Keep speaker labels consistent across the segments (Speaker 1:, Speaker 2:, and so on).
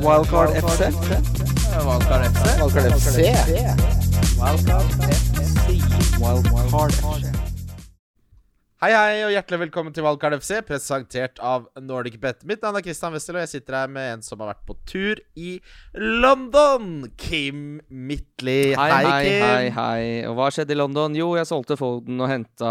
Speaker 1: Wildcard FC.
Speaker 2: Valgkar FC.
Speaker 1: Wildcard FC. Wildcard FC.
Speaker 2: Hei, hei, og hjertelig velkommen til Valgkar FC, presentert av Nordic Bet. Mitt navn er Christian Wessel, og jeg sitter her med en som har vært på tur i London. Kim Midtly.
Speaker 3: Hei, hei,
Speaker 2: Kim.
Speaker 3: hei, hei. Og hva skjedde i London? Jo, jeg solgte Foden og henta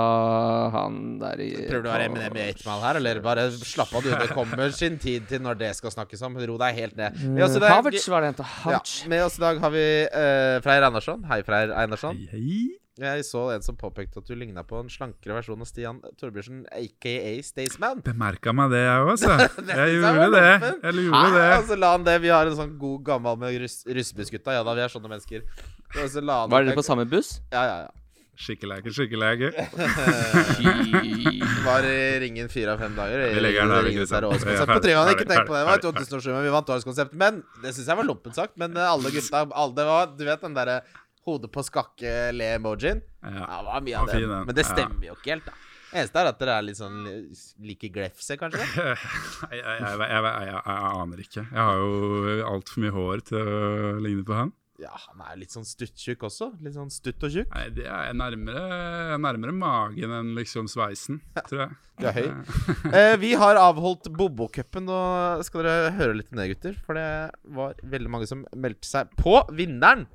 Speaker 3: han der i
Speaker 2: Prøver du å være Eminem i 8-mal her, eller bare slapp av, du. Det kommer sin tid til når det skal snakkes om. Ro deg helt ned. Med oss i dag-
Speaker 3: Mm, Havertz var det henta.
Speaker 2: Ja,
Speaker 3: Havertz.
Speaker 2: med oss i dag har vi eh, Freyr Einarsson. Hei, Freyr Einarsson.
Speaker 4: Hei.
Speaker 2: Jeg så en som påpekte at du ligna på en slankere versjon av Stian Torbjørnsen, aka Staysman.
Speaker 4: Bemerka meg det, jeg òg, altså. Jeg
Speaker 2: synes jeg
Speaker 4: gjorde
Speaker 2: var
Speaker 4: det.
Speaker 2: åpen.
Speaker 4: Jeg
Speaker 2: Nei,
Speaker 4: gjorde det.
Speaker 2: altså, la han det. Vi har en sånn god gammel med russ, russebusgutta. Ja da, vi er sånne mennesker. Og så la han
Speaker 3: Var dere på samme buss?
Speaker 2: Ja, ja, ja.
Speaker 4: Skikkelege, skikkelege.
Speaker 2: Det var i ringen fire av fem dager.
Speaker 4: Vi legger den der, vi,
Speaker 2: Ringenes
Speaker 4: Kristian.
Speaker 2: herre og
Speaker 4: Vi er
Speaker 2: Årets-konsept. På tre hadde
Speaker 4: ferdig,
Speaker 2: jeg
Speaker 4: ferdig,
Speaker 2: ikke tenkt på det. Det var i
Speaker 4: ferdig,
Speaker 2: 2007, men vi vant årets konsept. Men det syns jeg var lompent sagt. Men eh, alle gutta alle, det var, Du vet den derre hodet på skakke-le-emojien? Ja,
Speaker 4: Ja.
Speaker 2: det var mye av
Speaker 4: var
Speaker 2: det.
Speaker 4: fin, den.
Speaker 2: Men det
Speaker 4: Ja.
Speaker 2: stemmer jo ikke helt, da. Eneste er at dere er litt sånn like glefse, kanskje.
Speaker 4: Jeg, jeg, jeg, jeg, jeg, jeg, jeg aner ikke. Jeg har jo altfor mye hår til å ligne på han.
Speaker 2: Ja, han er litt sånn stuttjukk også. Litt sånn stutt og tjukk.
Speaker 4: Nei, det er nærmere, jeg er nærmere magen enn liksom sveisen, tror jeg.
Speaker 2: Du er høy. Eh, vi har avholdt Bobokupen, og skal dere høre litt om det, gutter. For det var veldig mange som meldte seg på. Vinneren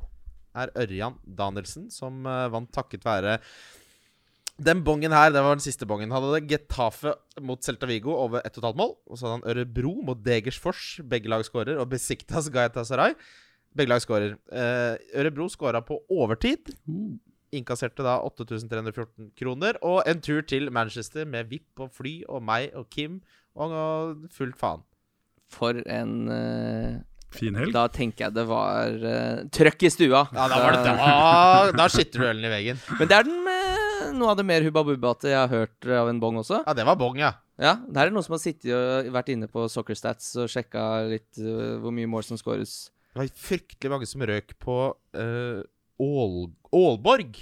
Speaker 2: er Ørjan Danielsen, som eh, vant takket være den bongen her, det var den siste bongen. Han hadde Getafe mot Celta Vigo over 1,5 mål. Og så hadde han Ørebro mot Degersfors, begge lag skårer. Og Besiktas Gayatasaray, begge lag skårer. Eh, Ørebro skåra på overtid.
Speaker 4: Uh,
Speaker 2: Innkasserte da 8314 kroner og en tur til Manchester med VIP og fly og meg og Kim og, og fullt faen.
Speaker 3: For en eh,
Speaker 4: Fin helg.
Speaker 3: Da tenker jeg det var eh, trøkk i stua. Eh,
Speaker 2: Ja, da var det da, Ah, da skytter du ølen i veggen.
Speaker 3: Men det er den eh, noe av det mer hubba bubbate jeg har hørt av en bong også.
Speaker 2: Ja, det var bong, ja.
Speaker 3: Ja, Der er det noen som har sittet og vært inne på Soccer Stats og sjekka litt eh, hvor mye mål som scores.
Speaker 2: Det var fryktelig mange som røk på eh, Ål Ålborg.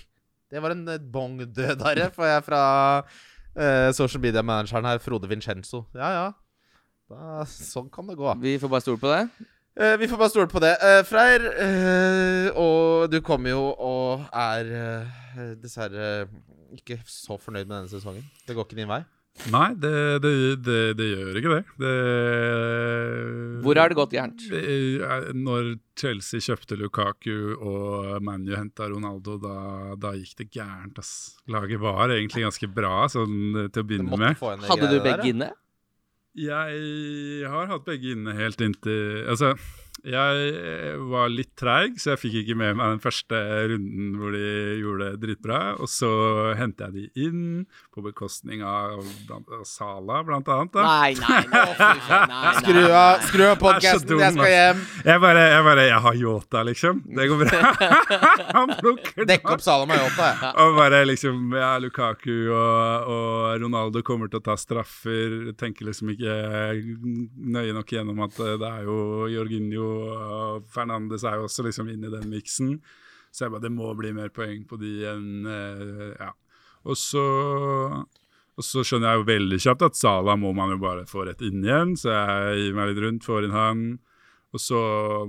Speaker 2: Det var en eh, bongdødare, får jeg fra eh, social media-manageren her, Frode Vincenzo. Ja, ja. Da, sånn kan det gå.
Speaker 3: Vi får bare stole på det.
Speaker 2: Eh, vi får bare stole på det. Eh, Freyr, eh, og du kommer jo og er eh, dessverre ikke så fornøyd med denne sesongen. Det går ikke din vei.
Speaker 4: Nei, det, det, det, det gjør ikke det. det
Speaker 3: Hvor har det gått gærent?
Speaker 4: Eh, Når Chelsea kjøpte Lukaku og ManU henta Ronaldo, da, da gikk det gærent. Ass. Laget var egentlig ganske bra sånn, eh, til å
Speaker 2: Du
Speaker 4: begynne
Speaker 2: måtte
Speaker 4: med.
Speaker 2: få eh, inn det
Speaker 3: Hadde du
Speaker 2: greiene der,
Speaker 3: begge
Speaker 2: ja.
Speaker 3: inne?
Speaker 4: Jeg har hatt begge inne helt inntil Altså, jeg var litt treig, så jeg fikk ikke med meg den første runden hvor de gjorde det dritbra. Og så henta jeg de inn på bekostning av blant, Sala, blant annet. Da.
Speaker 3: Nei, nei, nei.
Speaker 2: Skru av, skru av podkasten,
Speaker 4: dum,
Speaker 2: jeg skal hjem!
Speaker 4: Jeg bare, jeg bare Jeg har Yota, liksom. Det går bra. Han plukker den
Speaker 2: Dekke opp Salam Ayota. jeg.
Speaker 4: Og bare liksom Ja, Lukaku og, og Ronaldo kommer til å ta straffer. Tenker liksom ikke nøye nok gjennom at eh, det er jo Jorginho og Fernandes er jo også liksom inne i den miksen. Så jeg bare Det må bli mer poeng på de enn eh, Ja. Og så og så skjønner jeg jo veldig kjapt at Sala må man jo bare få rett inn igjen, så jeg gir meg litt rundt, får inn han. Og så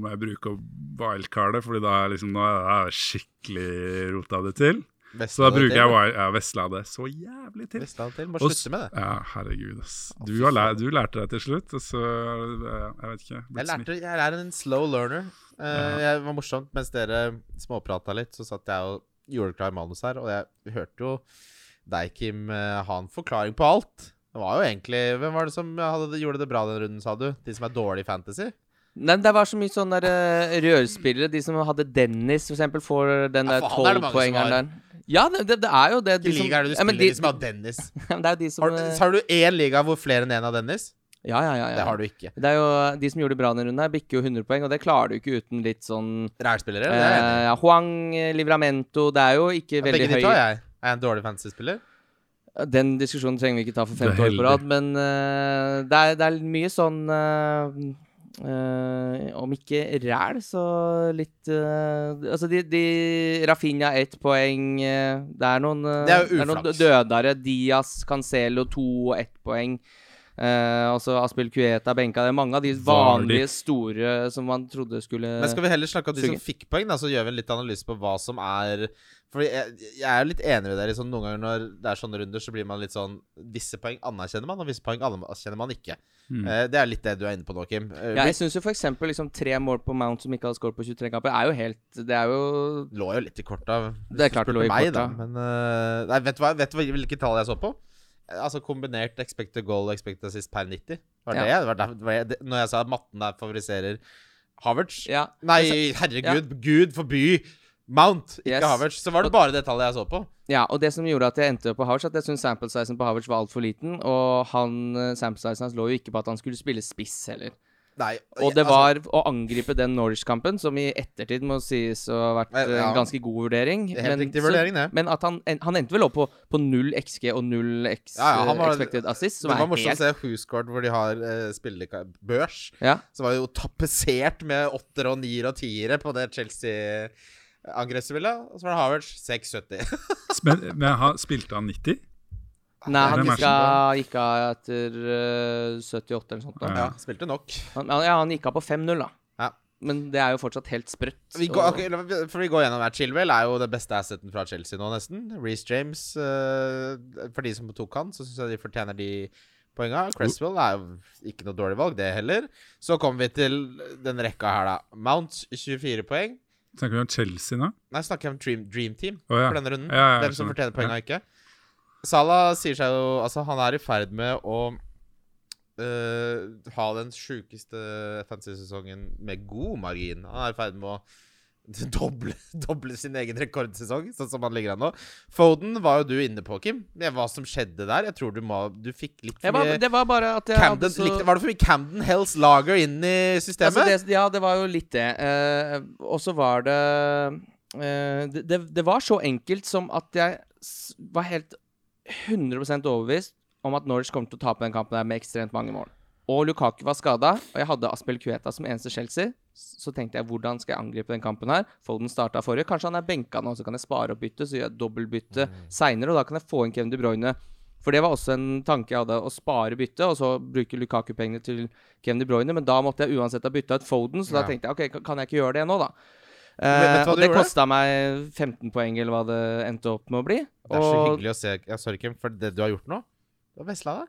Speaker 4: må jeg bruke opp wildcardet, Fordi da er liksom, nå er jeg skikkelig rota det til.
Speaker 2: Vestlandet
Speaker 4: Så da bruker
Speaker 2: til.
Speaker 4: jeg wild, ja, Vestlandet så jævlig til.
Speaker 2: Vestlandet til. Må
Speaker 4: Og s-
Speaker 2: slutte med det.
Speaker 4: Ja, herregud, ass. Du, har lært, du lærte deg til slutt, og så ja, Jeg vet ikke.
Speaker 2: Jeg,
Speaker 4: blitt smitt.
Speaker 2: lærte, jeg er en slow learner. Eh, jeg var morsomt, mens dere småprata litt, så satt jeg og gjorde klar manus her, og jeg hørte jo deg, Kim, eh, ha en forklaring på alt. Det var jo egentlig Hvem var det som hadde, gjorde det bra den runden, sa du? De som er dårlige i fantasy?
Speaker 3: Nei, men det var så mye sånne der, eh, rørspillere. De som hadde Dennis, for eksempel, får den
Speaker 2: Ja,
Speaker 3: der
Speaker 2: faen, er det mange som
Speaker 3: tolvpoengeren
Speaker 2: har.
Speaker 3: der. Ja, det, det, det er jo det.
Speaker 2: Hvilken liga er det du
Speaker 3: ja, men
Speaker 2: spiller
Speaker 3: de,
Speaker 2: i som har Dennis?
Speaker 3: Det er jo de som
Speaker 2: Har, du-
Speaker 3: eh,
Speaker 2: så har du én liga hvor flere enn én har Dennis?
Speaker 3: Ja, ja, ja. ja.
Speaker 2: Det har du ikke.
Speaker 3: Det er jo eh, De som gjorde det bra denne runden, her, bikker jo 100 poeng, og det klarer du ikke uten litt sånn
Speaker 2: Rælspillere? det er jeg enig i.
Speaker 3: eh, ja, Huang, eh, Livramento Det er jo ikke veldig
Speaker 2: Begge de
Speaker 3: høy
Speaker 2: to har jeg. Er jeg en dårlig fantasy-spiller?
Speaker 3: Den diskusjonen trenger vi ikke ta for
Speaker 4: Du er
Speaker 3: femte år
Speaker 4: heldig.
Speaker 3: på rad, men eh, det, er, det er mye sånn eh, eh, Om ikke ræl, så litt eh, Altså, de, de Rafinha ett poeng. eh, det er noen eh,
Speaker 2: Det er jo
Speaker 3: noen
Speaker 2: uflaks.
Speaker 3: dødere. Diaz, Cancelo to og ett poeng. Eh, Eh, altså Aspil Kueta benka. Det er mange av de
Speaker 4: Vardy.
Speaker 3: vanlige store som man trodde skulle
Speaker 2: Men skal vi heller snakke om de som
Speaker 3: suger.
Speaker 2: fikk poeng, da, så gjør vi en litt analyse på hva som er Fordi jeg, jeg er jo litt enig med dere. Sånn, noen ganger når det er sånne runder, så blir man litt sånn Visse poeng anerkjenner man, og visse poeng anerkjenner man ikke.
Speaker 4: Mm.
Speaker 2: Eh, det er litt det du er inne på nå, Kim. Eh,
Speaker 3: ja, jeg syns jo f.eks. Liksom, tre mål på Mount som ikke har skåret på 23 kamper, er jo helt Det er jo
Speaker 2: lå jo litt i korta. hvis
Speaker 3: Det er
Speaker 2: du
Speaker 3: klart det
Speaker 2: spurte
Speaker 3: lå i
Speaker 2: meg,
Speaker 3: korta.
Speaker 2: Da. Men eh, nei, vet du hva, vet du hva- hvilke tall jeg så på? Eh, Altså kombinert expected goal og expected assist per 90. Var det,
Speaker 3: Ja.
Speaker 2: det var der, var jeg, det, når jeg sa at matten der favoriserer Havertz
Speaker 3: Ja.
Speaker 2: Nei, herregud, gud forby Mount, ikke
Speaker 3: Yes.
Speaker 2: Havertz. Så var det bare det tallet jeg så på.
Speaker 3: Ja, og det som gjorde at jeg endte opp på Havertz, at jeg syntes sample sizen på Havertz var altfor liten, og han, eh, sample sizen hans lå jo ikke på at han skulle spille spiss heller.
Speaker 2: Nei,
Speaker 3: Og det
Speaker 2: altså,
Speaker 3: var å angripe den Norwich-kampen, som i ettertid må sies å ha vært
Speaker 2: Ja,
Speaker 3: eh, en ganske god vurdering.
Speaker 2: det er Helt riktig
Speaker 3: så-
Speaker 2: vurdering, det.
Speaker 3: Men at han, en- han endte vel opp på, på null XG og null X,
Speaker 2: Ja, ja, han
Speaker 3: eh,
Speaker 2: var-
Speaker 3: expected assist, som
Speaker 2: det var
Speaker 3: er
Speaker 2: morsomt å
Speaker 3: helt
Speaker 2: se Whoscored, hvor de har eh, spillebørs.
Speaker 3: ja.
Speaker 2: Så var det jo tapetsert med åttere og niere og tiere på det Chelsea-angrepsspillet. Og så var det Havertz 6,70.
Speaker 4: Men, men ha, spilte han 90?
Speaker 2: Ah,
Speaker 3: Nei, han
Speaker 4: Hvem er
Speaker 3: gikk av, gikk av etter eh, 78 eller sånt. Da.
Speaker 2: Ja, spilte nok.
Speaker 3: Han, ja, han gikk av på 5-0, da.
Speaker 2: Ja.
Speaker 3: Men det er jo fortsatt helt sprøtt.
Speaker 2: Vi går, ok, la- vi- for vi går gjennom her. Chilwell er jo den beste asseten fra Chelsea nå, nesten. Reece James eh, For de som tok han, så syns jeg de fortjener de poenga. Cresswell er jo ikke noe dårlig valg, det heller. Så kommer vi til den rekka her, da. Mount 24 poeng.
Speaker 4: Snakker vi om Chelsea nå?
Speaker 2: Nei, snakker jeg om Dream, dream Team
Speaker 4: Å, ja.
Speaker 2: for denne runden.
Speaker 4: Ja, ja, jeg
Speaker 2: Hvem som
Speaker 4: skjønner.
Speaker 2: fortjener poenga, og ikke. Salah sier seg jo Altså, han er i ferd med å øh, ha den sjukeste fantasy-sesongen med god margin. Han er i ferd med å doble, doble sin egen rekordsesong, sånn som han ligger an nå. Foden var jo du inne på, Kim. Det- Hva som skjedde der? Jeg tror du må Du fikk litt
Speaker 3: Jeg
Speaker 2: for
Speaker 3: var,
Speaker 2: mye
Speaker 3: det altså var bare at jeg
Speaker 2: Camden,
Speaker 3: hadde så
Speaker 2: likte, Var det for mye Camden Hells Lager inn i systemet?
Speaker 3: altså, det, Ja, det var jo litt det. Eh, og så var det, eh, det, det Det var så enkelt som at jeg s- var helt 100 overbevist om at Norwich kom til å tape den kampen der med ekstremt mange mål. Og Lukaku var skada, og jeg hadde Aspel Kueta som eneste Chelsea. S- Så tenkte jeg hvordan skal jeg angripe den kampen her? Folden starta forrige. Kanskje han er benka nå, så kan jeg spare opp byttet, så gjør jeg dobbeltbytte
Speaker 2: Mm.
Speaker 3: seinere, og da kan jeg få inn Kevin De Bruyne. For det var også en tanke jeg hadde, å spare byttet, og så bruke Lukaku-pengene til Kevin De Bruyne, men da måtte jeg uansett ha bytta ut Foden, så da
Speaker 2: Ja.
Speaker 3: tenkte jeg ok, kan- kan jeg ikke gjøre det nå, da?
Speaker 2: Vet- vet du
Speaker 3: Eh,
Speaker 2: hva
Speaker 3: og
Speaker 2: du
Speaker 3: det
Speaker 2: gjorde?
Speaker 3: kosta meg 15 poeng, eller hva det endte opp med å bli.
Speaker 2: Det er så
Speaker 3: Og-
Speaker 2: hyggelig å se ja, Sorry, Kim, for det du har gjort nå Du har vesla deg.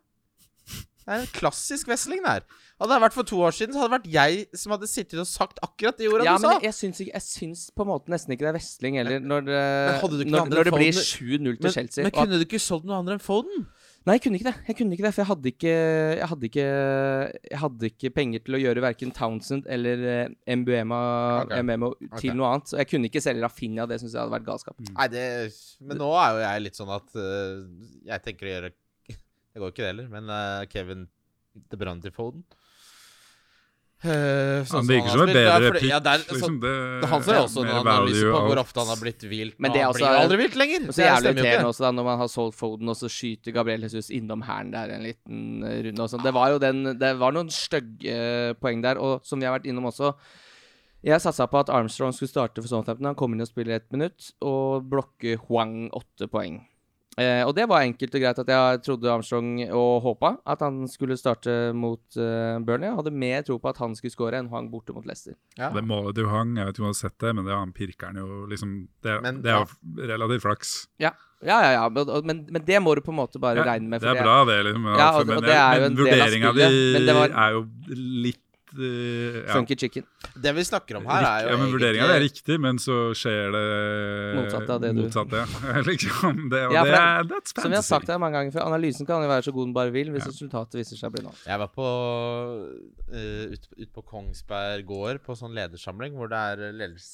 Speaker 2: Det er en klassisk vesling, det her. Hadde det vært for to år siden, så hadde det vært jeg som hadde sittet og sagt akkurat de ordene
Speaker 3: Ja,
Speaker 2: du sa.
Speaker 3: men jeg, jeg, syns ikke, jeg syns på en måte nesten ikke det er vesling heller, når, det-
Speaker 2: hadde du ikke
Speaker 3: når,
Speaker 2: handlet
Speaker 3: når det blir
Speaker 2: Foden-
Speaker 3: 7-0 til
Speaker 2: Men-
Speaker 3: Chelsea.
Speaker 2: men
Speaker 3: og at-
Speaker 2: kunne du ikke solgt noe annet enn Foden?
Speaker 3: Nei, jeg kunne ikke det. Jeg kunne ikke det, For jeg hadde ikke, jeg hadde ikke, jeg hadde ikke penger til å gjøre verken Townsend eller eh, Mbuema,
Speaker 2: Ok.
Speaker 3: Mbemo
Speaker 2: Ok.
Speaker 3: til noe annet. Så jeg kunne ikke selge Rafinha. Det syns jeg hadde vært galskap.
Speaker 2: Nei, det Men nå er jo jeg litt sånn at øh, jeg tenker å gjøre Det går jo ikke, det heller, men øh, Kevin De Bruyne til Foden Eh, sånn
Speaker 4: Han virker som
Speaker 2: har
Speaker 4: en
Speaker 2: spilt. Det er
Speaker 4: bedre
Speaker 2: fordi-
Speaker 4: pick.
Speaker 2: ja, det er- så-
Speaker 4: liksom, det-
Speaker 2: Han ser også
Speaker 4: mer
Speaker 2: en analyse
Speaker 4: value
Speaker 2: på hvor
Speaker 4: out.
Speaker 2: ofte han har blitt hvilt.
Speaker 3: Men
Speaker 2: Men
Speaker 3: det er
Speaker 2: han
Speaker 3: også-
Speaker 2: blir jo aldri hvilt lenger.
Speaker 3: Og
Speaker 2: Det
Speaker 3: så jævlig
Speaker 2: stemmer jo ikke.
Speaker 3: irriterende også da når man har solgt Foden, og så skyter Gabriel Jesus innom hælen der en liten eh, runde og sånn. Det var jo den Det var noen stygge eh, poeng der, og som vi har vært innom også Jeg satsa på at Armstrong skulle starte for Southampton. Han kom inn og spiller ett minutt og blokker Huang åtte poeng. Eh, og det var enkelt og greit at jeg trodde Armstrong og håpa at han skulle starte mot eh, Burnley. Jeg hadde mer tro på at han skulle score enn Huang borte mot Leicester.
Speaker 2: Ja.
Speaker 4: Det målet du hang, jeg vet ikke om du har sett det, men det han pirkeren jo liksom Det,
Speaker 2: Men-
Speaker 4: det er jo relativt flaks.
Speaker 3: Ja, ja, ja, men, men, men det må du på en måte bare
Speaker 4: Ja,
Speaker 3: regne med.
Speaker 4: det
Speaker 3: for
Speaker 4: er bra, det. Liksom,
Speaker 3: Ja, og-
Speaker 4: men
Speaker 3: og det er jo en del av
Speaker 4: vurderingen
Speaker 3: spillet,
Speaker 4: din
Speaker 3: men det var-
Speaker 4: er jo litt eh, ja,
Speaker 3: Funky chicken.
Speaker 2: Det vi snakker om her, er
Speaker 4: rikt-
Speaker 2: jo
Speaker 4: ja, men Vurderinga er
Speaker 2: egentlig-
Speaker 4: riktig, men så skjer det
Speaker 3: Motsatt av det du-
Speaker 4: motsatt, ja. liksom, det, og
Speaker 3: Ja, for
Speaker 4: det
Speaker 3: det-
Speaker 4: er that's
Speaker 3: Som vi har sagt
Speaker 4: fantasy.
Speaker 3: her mange ganger før, analysen kan jo være så god den bare vil, hvis
Speaker 4: Ja.
Speaker 3: resultatet viser seg å bli noe.
Speaker 2: Jeg var på eh, ut, ut på Kongsberg gård på sånn ledersamling hvor det er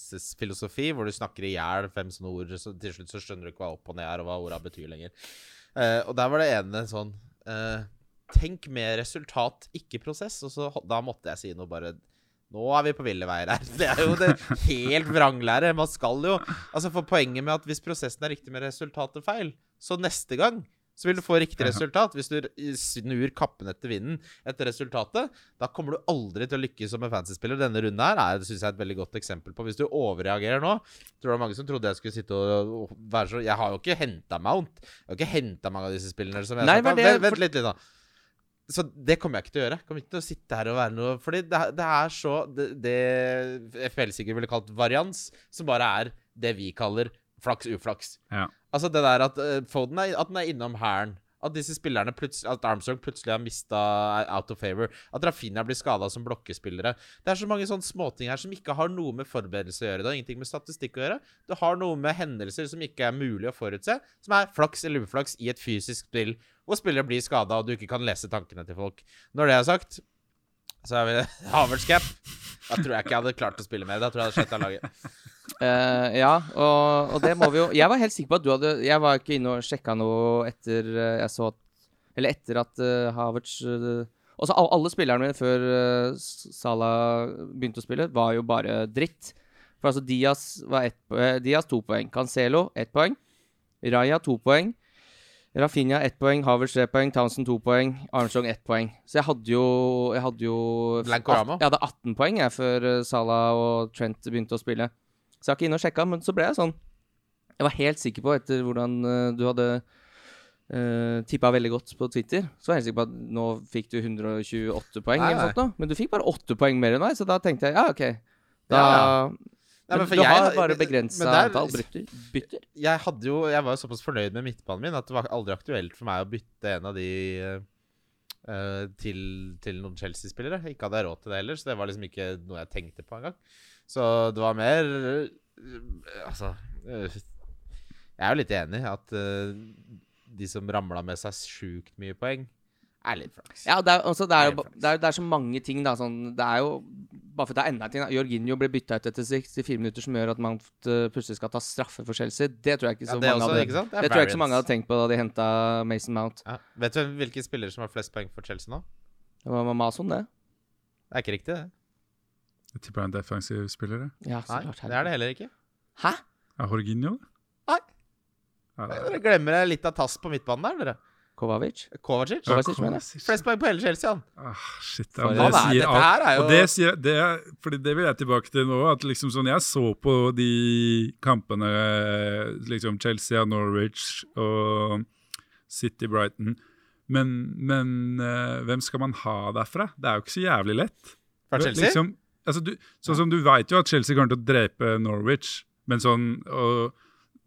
Speaker 2: ledelsesfilosofi, hvor du snakker i hjel fem sånne ord, så til slutt så skjønner du ikke hva opp og ned er, og hva orda betyr lenger. Eh, og der var det ene sånn eh, Tenk med resultat, ikke prosess. Og så da måtte jeg si noe bare Nå er vi på ville veier her. Det er jo det helt vranglære. Man skal jo Altså, for poenget med at hvis prosessen er riktig med resultatet feil, så neste gang så vil du få riktig resultat. Hvis du r- snur kappen etter vinden etter resultatet, da kommer du aldri til å lykkes som en fancy-spiller. Denne runden her er synes jeg, et veldig godt eksempel på. Hvis du overreagerer nå Tror det var mange som trodde jeg skulle sitte og og være så Jeg har jo ikke henta Mount. Jeg har ikke hentet mange av disse spillene. Som jeg
Speaker 3: Nei,
Speaker 2: har sagt.
Speaker 3: men det-
Speaker 2: vent, vent litt, litt, da. Så det kommer jeg ikke til å gjøre. Jeg Kommer ikke til å sitte her og være noe Fordi det, er- det er så Det, det FL sikkert ville kalt varians, som bare er det vi kaller flaks-uflaks.
Speaker 4: Ja.
Speaker 2: Altså det der at eh, Foden er, at den er innom hæren. At disse spillerne plutselig At Armstrong plutselig har mista er out of favor. At Rafinha blir skada som blokkespillere. Det er så mange sånne småting her som ikke har noe med forberedelse å gjøre. Det har ingenting med statistikk å gjøre. Det har noe med hendelser som ikke er mulig å forutse, som er flaks eller uflaks i et fysisk spill, hvor spillere blir skada og du ikke kan lese tankene til folk. Når det er sagt, så er vi Havertz cap. Da tror jeg ikke jeg hadde klart å spille mer. Da tror jeg jeg hadde sletta laget.
Speaker 3: Eh, ja, og, og det må vi jo Jeg var helt sikker på at du hadde Jeg var ikke inne og sjekka noe etter eh, jeg så at Eller etter at eh, Havertz eh, Også al- alle spillerne mine før eh, S- Salah begynte å spille, var jo bare dritt. For altså Diaz var ett po- eh, Diaz to poeng. Cancelo ett poeng. Raja to poeng. Rafinha ett poeng. Havertz tre poeng. Townsend to poeng. Armstrong ett poeng. Så jeg hadde jo Jeg hadde jo
Speaker 2: Blankorama.
Speaker 3: Jeg hadde 18 poeng jeg før eh, Salah og Trent begynte å spille. Så jeg var ikke inne og sjekka, men så ble jeg sånn. Jeg var helt sikker på, etter hvordan eh, du hadde uh, tippa veldig godt på Twitter, så var jeg helt sikker på at nå fikk du 128 poeng,
Speaker 2: Nei,
Speaker 3: eller noe
Speaker 2: nei.
Speaker 3: sånt nå. men du fikk bare 8 poeng mer enn meg, så da tenkte jeg ja, OK. Da,
Speaker 2: Ja,
Speaker 3: Men,
Speaker 2: for
Speaker 3: du
Speaker 2: jeg-
Speaker 3: har bare
Speaker 2: men-
Speaker 3: begrensa
Speaker 2: men der-
Speaker 3: antall bytter. bytter.
Speaker 2: jeg hadde jo Jeg var jo såpass fornøyd med midtbanen min at det var aldri aktuelt for meg å bytte en av de eh, til, til noen Chelsea-spillere. Ikke hadde jeg råd til det heller, så det var liksom ikke noe jeg tenkte på engang. Så det var mer eh, Altså eh, Jeg er jo litt enig i at eh, de som ramla med seg sjukt mye poeng, er litt flaks.
Speaker 3: Ja, det er, altså, det, er jo,
Speaker 2: Nei,
Speaker 3: ba-
Speaker 2: faktisk.
Speaker 3: det, er, det er så mange ting, da. Sånn, det er jo Bare for det er enda en ting. da. Jorginho ble bytta ut etter 64 minutter, som gjør at man eh, plutselig skal ta straffe for Chelsea. Det tror jeg ikke
Speaker 2: Ja,
Speaker 3: så
Speaker 2: det er
Speaker 3: mange
Speaker 2: også,
Speaker 3: hadde
Speaker 2: ikke sant? Det er
Speaker 3: Det tror jeg ikke så
Speaker 2: variance.
Speaker 3: mange hadde tenkt på da de henta Mason Mount.
Speaker 2: ja. Vet du hvem- hvilke spillere som har flest poeng for Chelsea nå?
Speaker 3: Det var Mason, det.
Speaker 2: Det er ikke riktig, det.
Speaker 4: Jeg tipper han er en defensiv spiller. jeg.
Speaker 3: Ja, så
Speaker 2: Nei,
Speaker 3: klart.
Speaker 2: det er det heller ikke.
Speaker 3: Hæ?
Speaker 4: Er Jorginho det?
Speaker 2: Nei.
Speaker 4: Ja, det er-
Speaker 2: Dere glemmer litt av tass på midtbanen der, dere.
Speaker 3: Kovacic?
Speaker 2: Kovacic?
Speaker 3: Ja, Kovacic, mener jeg.
Speaker 4: Kovacic.
Speaker 2: Flest poeng på hele Chelsea, han.
Speaker 4: Ah, shit, ja,
Speaker 3: For-
Speaker 4: men
Speaker 3: Han
Speaker 4: det
Speaker 2: er-
Speaker 4: sier
Speaker 2: dette
Speaker 4: alt.
Speaker 2: her er jo-
Speaker 4: Og det, sier, det, er, fordi det vil jeg tilbake til nå. At liksom sånn, Jeg så på de kampene eh, liksom Chelsea og Norwich og City Brighton. Men, men eh, hvem skal man ha derfra? Det er jo ikke så jævlig lett.
Speaker 2: Fra
Speaker 4: Vel,
Speaker 2: Chelsea?
Speaker 4: Liksom, altså du, sånn som du vet jo at Chelsea kommer til å drepe Norwich, men sånn og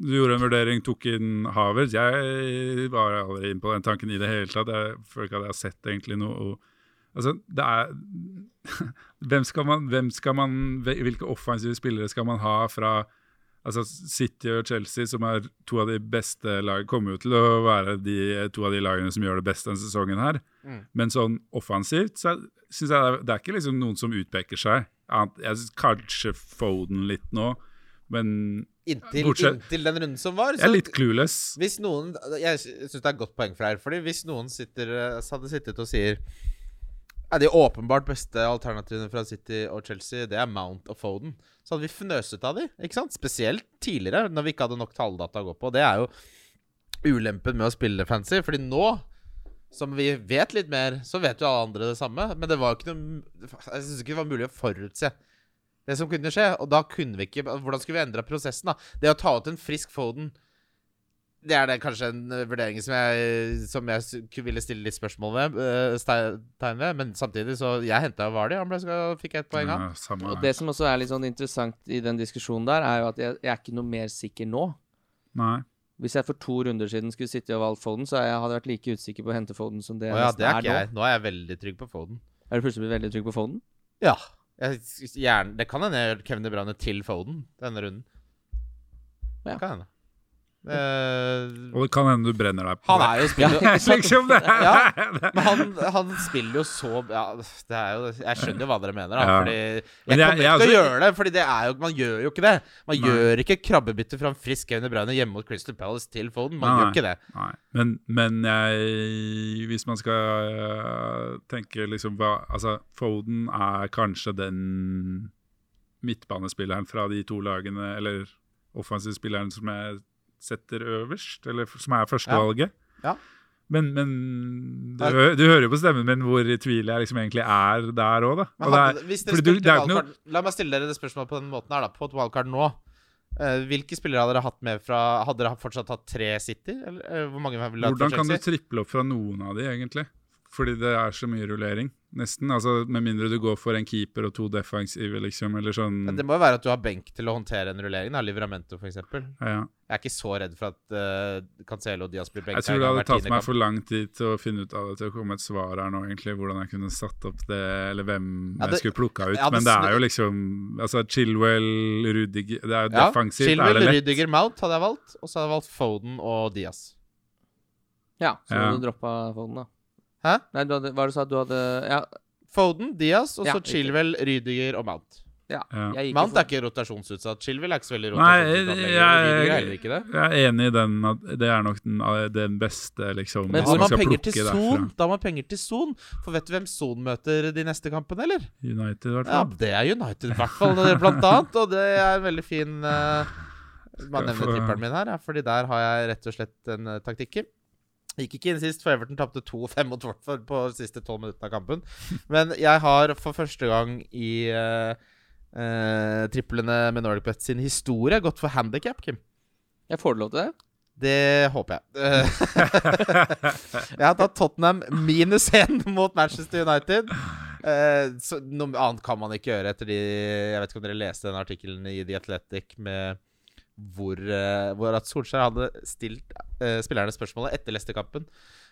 Speaker 4: Du gjorde en vurdering, tok inn Havertz. Jeg var aldri inne på den tanken i det hele tatt. Jeg føler ikke at jeg har sett egentlig noe og, Altså, det er hvem skal, man, hvem skal man Hvilke offensive spillere skal man ha fra Altså City og Chelsea, som er to av de beste lag, kommer jo til å være de, to av de lagene som gjør det best denne sesongen her.
Speaker 2: Mm.
Speaker 4: Men sånn offensivt så er- synes jeg det er, det er ikke liksom noen som utpeker seg. Annet- Jeg synes kanskje Foden litt nå, men
Speaker 2: Inntil,
Speaker 4: Bortsett-
Speaker 2: inntil den runden som var.
Speaker 4: jeg er litt clueless.
Speaker 2: hvis noen Jeg syns det er et godt poeng for her. Fordi hvis noen sitter, eh, hadde sittet og sier ja, De åpenbart beste alternativene fra City og Chelsea, det er Mount og Foden. Så hadde vi fnøset av de, ikke sant? Spesielt tidligere, når vi ikke hadde nok talldata å gå på. Det er jo ulempen med å spille fancy, fordi nå som vi vet litt mer, så vet jo alle andre det samme. Men det var jo ikke noe Jeg syns ikke det var mulig å forutse det som kunne skje. Og da kunne vi ikke Hvordan skulle vi endra prosessen, da? Det å ta ut en frisk Foden det er det kanskje en eh, vurdering som jeg, som jeg s- ku- ville stille litt spørsmål ved, eh, ste- tegn ved. Men samtidig, så Jeg henta jo Vardy. Han ble, ska- fikk ett poeng, han.
Speaker 4: Ja, samme
Speaker 3: Og
Speaker 4: her.
Speaker 3: det som også er litt sånn interessant i den diskusjonen der, er jo at jeg, jeg er ikke noe mer sikker nå.
Speaker 4: Nei.
Speaker 3: Hvis jeg for to runder siden skulle sitte og valgt Foden, så jeg hadde jeg vært like usikker på å hente Foden som det
Speaker 2: Å
Speaker 3: jeg
Speaker 2: ja,
Speaker 3: nesten
Speaker 2: det er ikke
Speaker 3: nå.
Speaker 2: jeg. Nå er jeg veldig trygg på Foden.
Speaker 3: Er du plutselig blitt veldig trygg på Foden?
Speaker 2: Ja. Jeg, s- gjerne, det kan hende jeg gjør Kevin De Bruyne til Foden denne runden.
Speaker 3: Ja.
Speaker 2: Det kan hende. Eh,
Speaker 4: Og det kan hende du brenner deg på
Speaker 2: han er jo spiller
Speaker 3: Ja, ikke sant?
Speaker 4: liksom, det,
Speaker 2: Ja.
Speaker 4: det.
Speaker 2: Men han, han spiller jo så ja, det er jo, Jeg skjønner jo hva dere mener. Da,
Speaker 4: Ja.
Speaker 2: Fordi jeg
Speaker 4: Men jeg-
Speaker 2: kommer ikke
Speaker 4: jeg
Speaker 2: til å
Speaker 4: også-
Speaker 2: gjøre det, Fordi det er jo, man gjør jo ikke det. Man
Speaker 4: Nei.
Speaker 2: gjør ikke krabbebytte fra en frisk Kevin De Bruyne hjemme mot Crystal Palace til Foden. Man
Speaker 4: Nei,
Speaker 2: gjør ikke det.
Speaker 4: Nei. Men, men jeg Hvis man skal øh, tenke liksom hva Altså, Foden er kanskje den midtbanespilleren fra de to lagene, eller offensivspilleren som jeg setter øverst, eller f- som er førstevalget.
Speaker 2: Ja. Ja.
Speaker 4: Men, men du, hø- du hører jo på stemmen min hvor i tvil jeg liksom egentlig er der òg, da.
Speaker 2: Men
Speaker 4: Og det
Speaker 2: hadde-
Speaker 4: er,
Speaker 2: hvis dere
Speaker 4: fordi du,
Speaker 2: spilte
Speaker 4: det er jo ikke noe
Speaker 2: wildcard- La meg stille dere det spørsmålet på den måten her, da. På et wildcard nå. eh, hvilke spillere hadde dere hatt med fra Hadde dere fortsatt hatt tre City? Eller, eh, hvor mange ville dere hatt fra
Speaker 4: Hvordan kan du
Speaker 2: Chelsea?
Speaker 4: triple opp fra noen av de, egentlig? Fordi det er så mye rullering, nesten. Altså, Med mindre du går for en keeper og to defensive, liksom, eller sånn.
Speaker 2: Men det må jo være at du har benk til å håndtere en rullering. da, Livramento, f.eks. Jeg
Speaker 4: Ja.
Speaker 2: er ikke så redd for at eh, Cancelo og Diaz blir benka.
Speaker 4: Jeg tror det hadde tatt meg for lang tid til å finne ut av det, til å komme et svar her nå, egentlig, hvordan jeg kunne satt opp det, eller hvem
Speaker 2: Ja, det-
Speaker 4: jeg skulle plukka ut.
Speaker 2: ja, det
Speaker 4: Men det
Speaker 2: sn-
Speaker 4: er jo liksom altså Chilwell, Rudiger Det er jo
Speaker 2: ja,
Speaker 4: defensivt, er
Speaker 2: Chilwell,
Speaker 4: det lett?
Speaker 2: Rydiger, Mount hadde jeg valgt. Og så hadde jeg valgt Foden og Diaz.
Speaker 3: Ja, så
Speaker 4: Ja.
Speaker 3: du droppa Foden, da.
Speaker 2: Hæ?
Speaker 3: Nei, du hadde, hva er det du sa? Du hadde Ja,
Speaker 2: Foden, Diaz, og
Speaker 3: Ja,
Speaker 2: så
Speaker 3: riktig.
Speaker 2: Chilwell, Rydiger og Mount.
Speaker 4: Ja.
Speaker 3: jeg gikk jo
Speaker 2: Mount
Speaker 3: for-
Speaker 2: er ikke rotasjonsutsatt. Chilwell er ikke så veldig
Speaker 4: Nei,
Speaker 2: rotasjonsutsatt lenger.
Speaker 4: jeg-
Speaker 2: Rydiger er heller ikke det.
Speaker 4: Jeg er enig i den at det er nok den, den beste,
Speaker 3: Men
Speaker 4: liksom. hvis
Speaker 3: hvor
Speaker 2: Da har
Speaker 4: man
Speaker 2: man
Speaker 4: skal
Speaker 2: penger
Speaker 4: plukke
Speaker 2: til Son. Da har man penger til Son. For vet du hvem Son møter de neste kampene, eller?
Speaker 4: United, i hvert
Speaker 2: Ja,
Speaker 4: fall.
Speaker 2: det er United, i hvert fall, blant annet. Og det er en veldig fin eh, Bare
Speaker 4: jeg
Speaker 2: nevne
Speaker 4: få-
Speaker 2: tipperen min her, ja, Fordi der har jeg rett og slett en eh, taktikker. Gikk ikke inn sist, for Everton tapte 2-5 mot Watford på de siste 12 minuttene av kampen. Men jeg har for første gang i eh, eh, triplene med Nordic Bet sin historie gått for handikap, Kim.
Speaker 3: Jeg får du lov til det?
Speaker 2: Det håper jeg. Eh, jeg har tatt Tottenham minus én mot Manchester United. Eh, så noe annet kan man ikke gjøre etter de Jeg vet ikke om dere leste den artikkelen i The Athletic med hvor, eh, hvor at Solskjær hadde stilt eh, spillerne spørsmålet etter Leicester-kampen.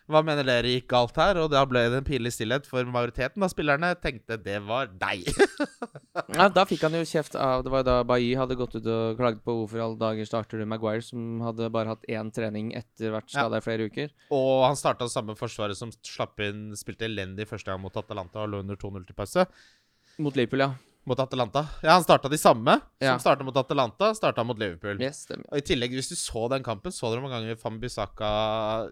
Speaker 2: Hva mener dere gikk galt her? Og da ble det en pinlig stillhet, for majoriteten av spillerne tenkte det var deg.
Speaker 3: Ja, da fikk han jo kjeft av Det var jo da Bailly hadde gått ut og klaget på hvorfor i alle dager starter du Maguire, som hadde bare hatt én trening etter hvert skada i flere uker.
Speaker 2: Og han starta samme forsvaret som slapp inn, spilte elendig første gang mot Atalanta og lå under 2-0 til pause.
Speaker 3: Mot Liverpool, ja.
Speaker 2: Mot Atalanta. Ja, han starta de samme
Speaker 3: Ja.
Speaker 2: som starta mot Atalanta, starta mot Liverpool.
Speaker 3: Yes, stemmer.
Speaker 2: Og i tillegg, hvis du så den kampen, så dere hvor mange ganger Fambisaka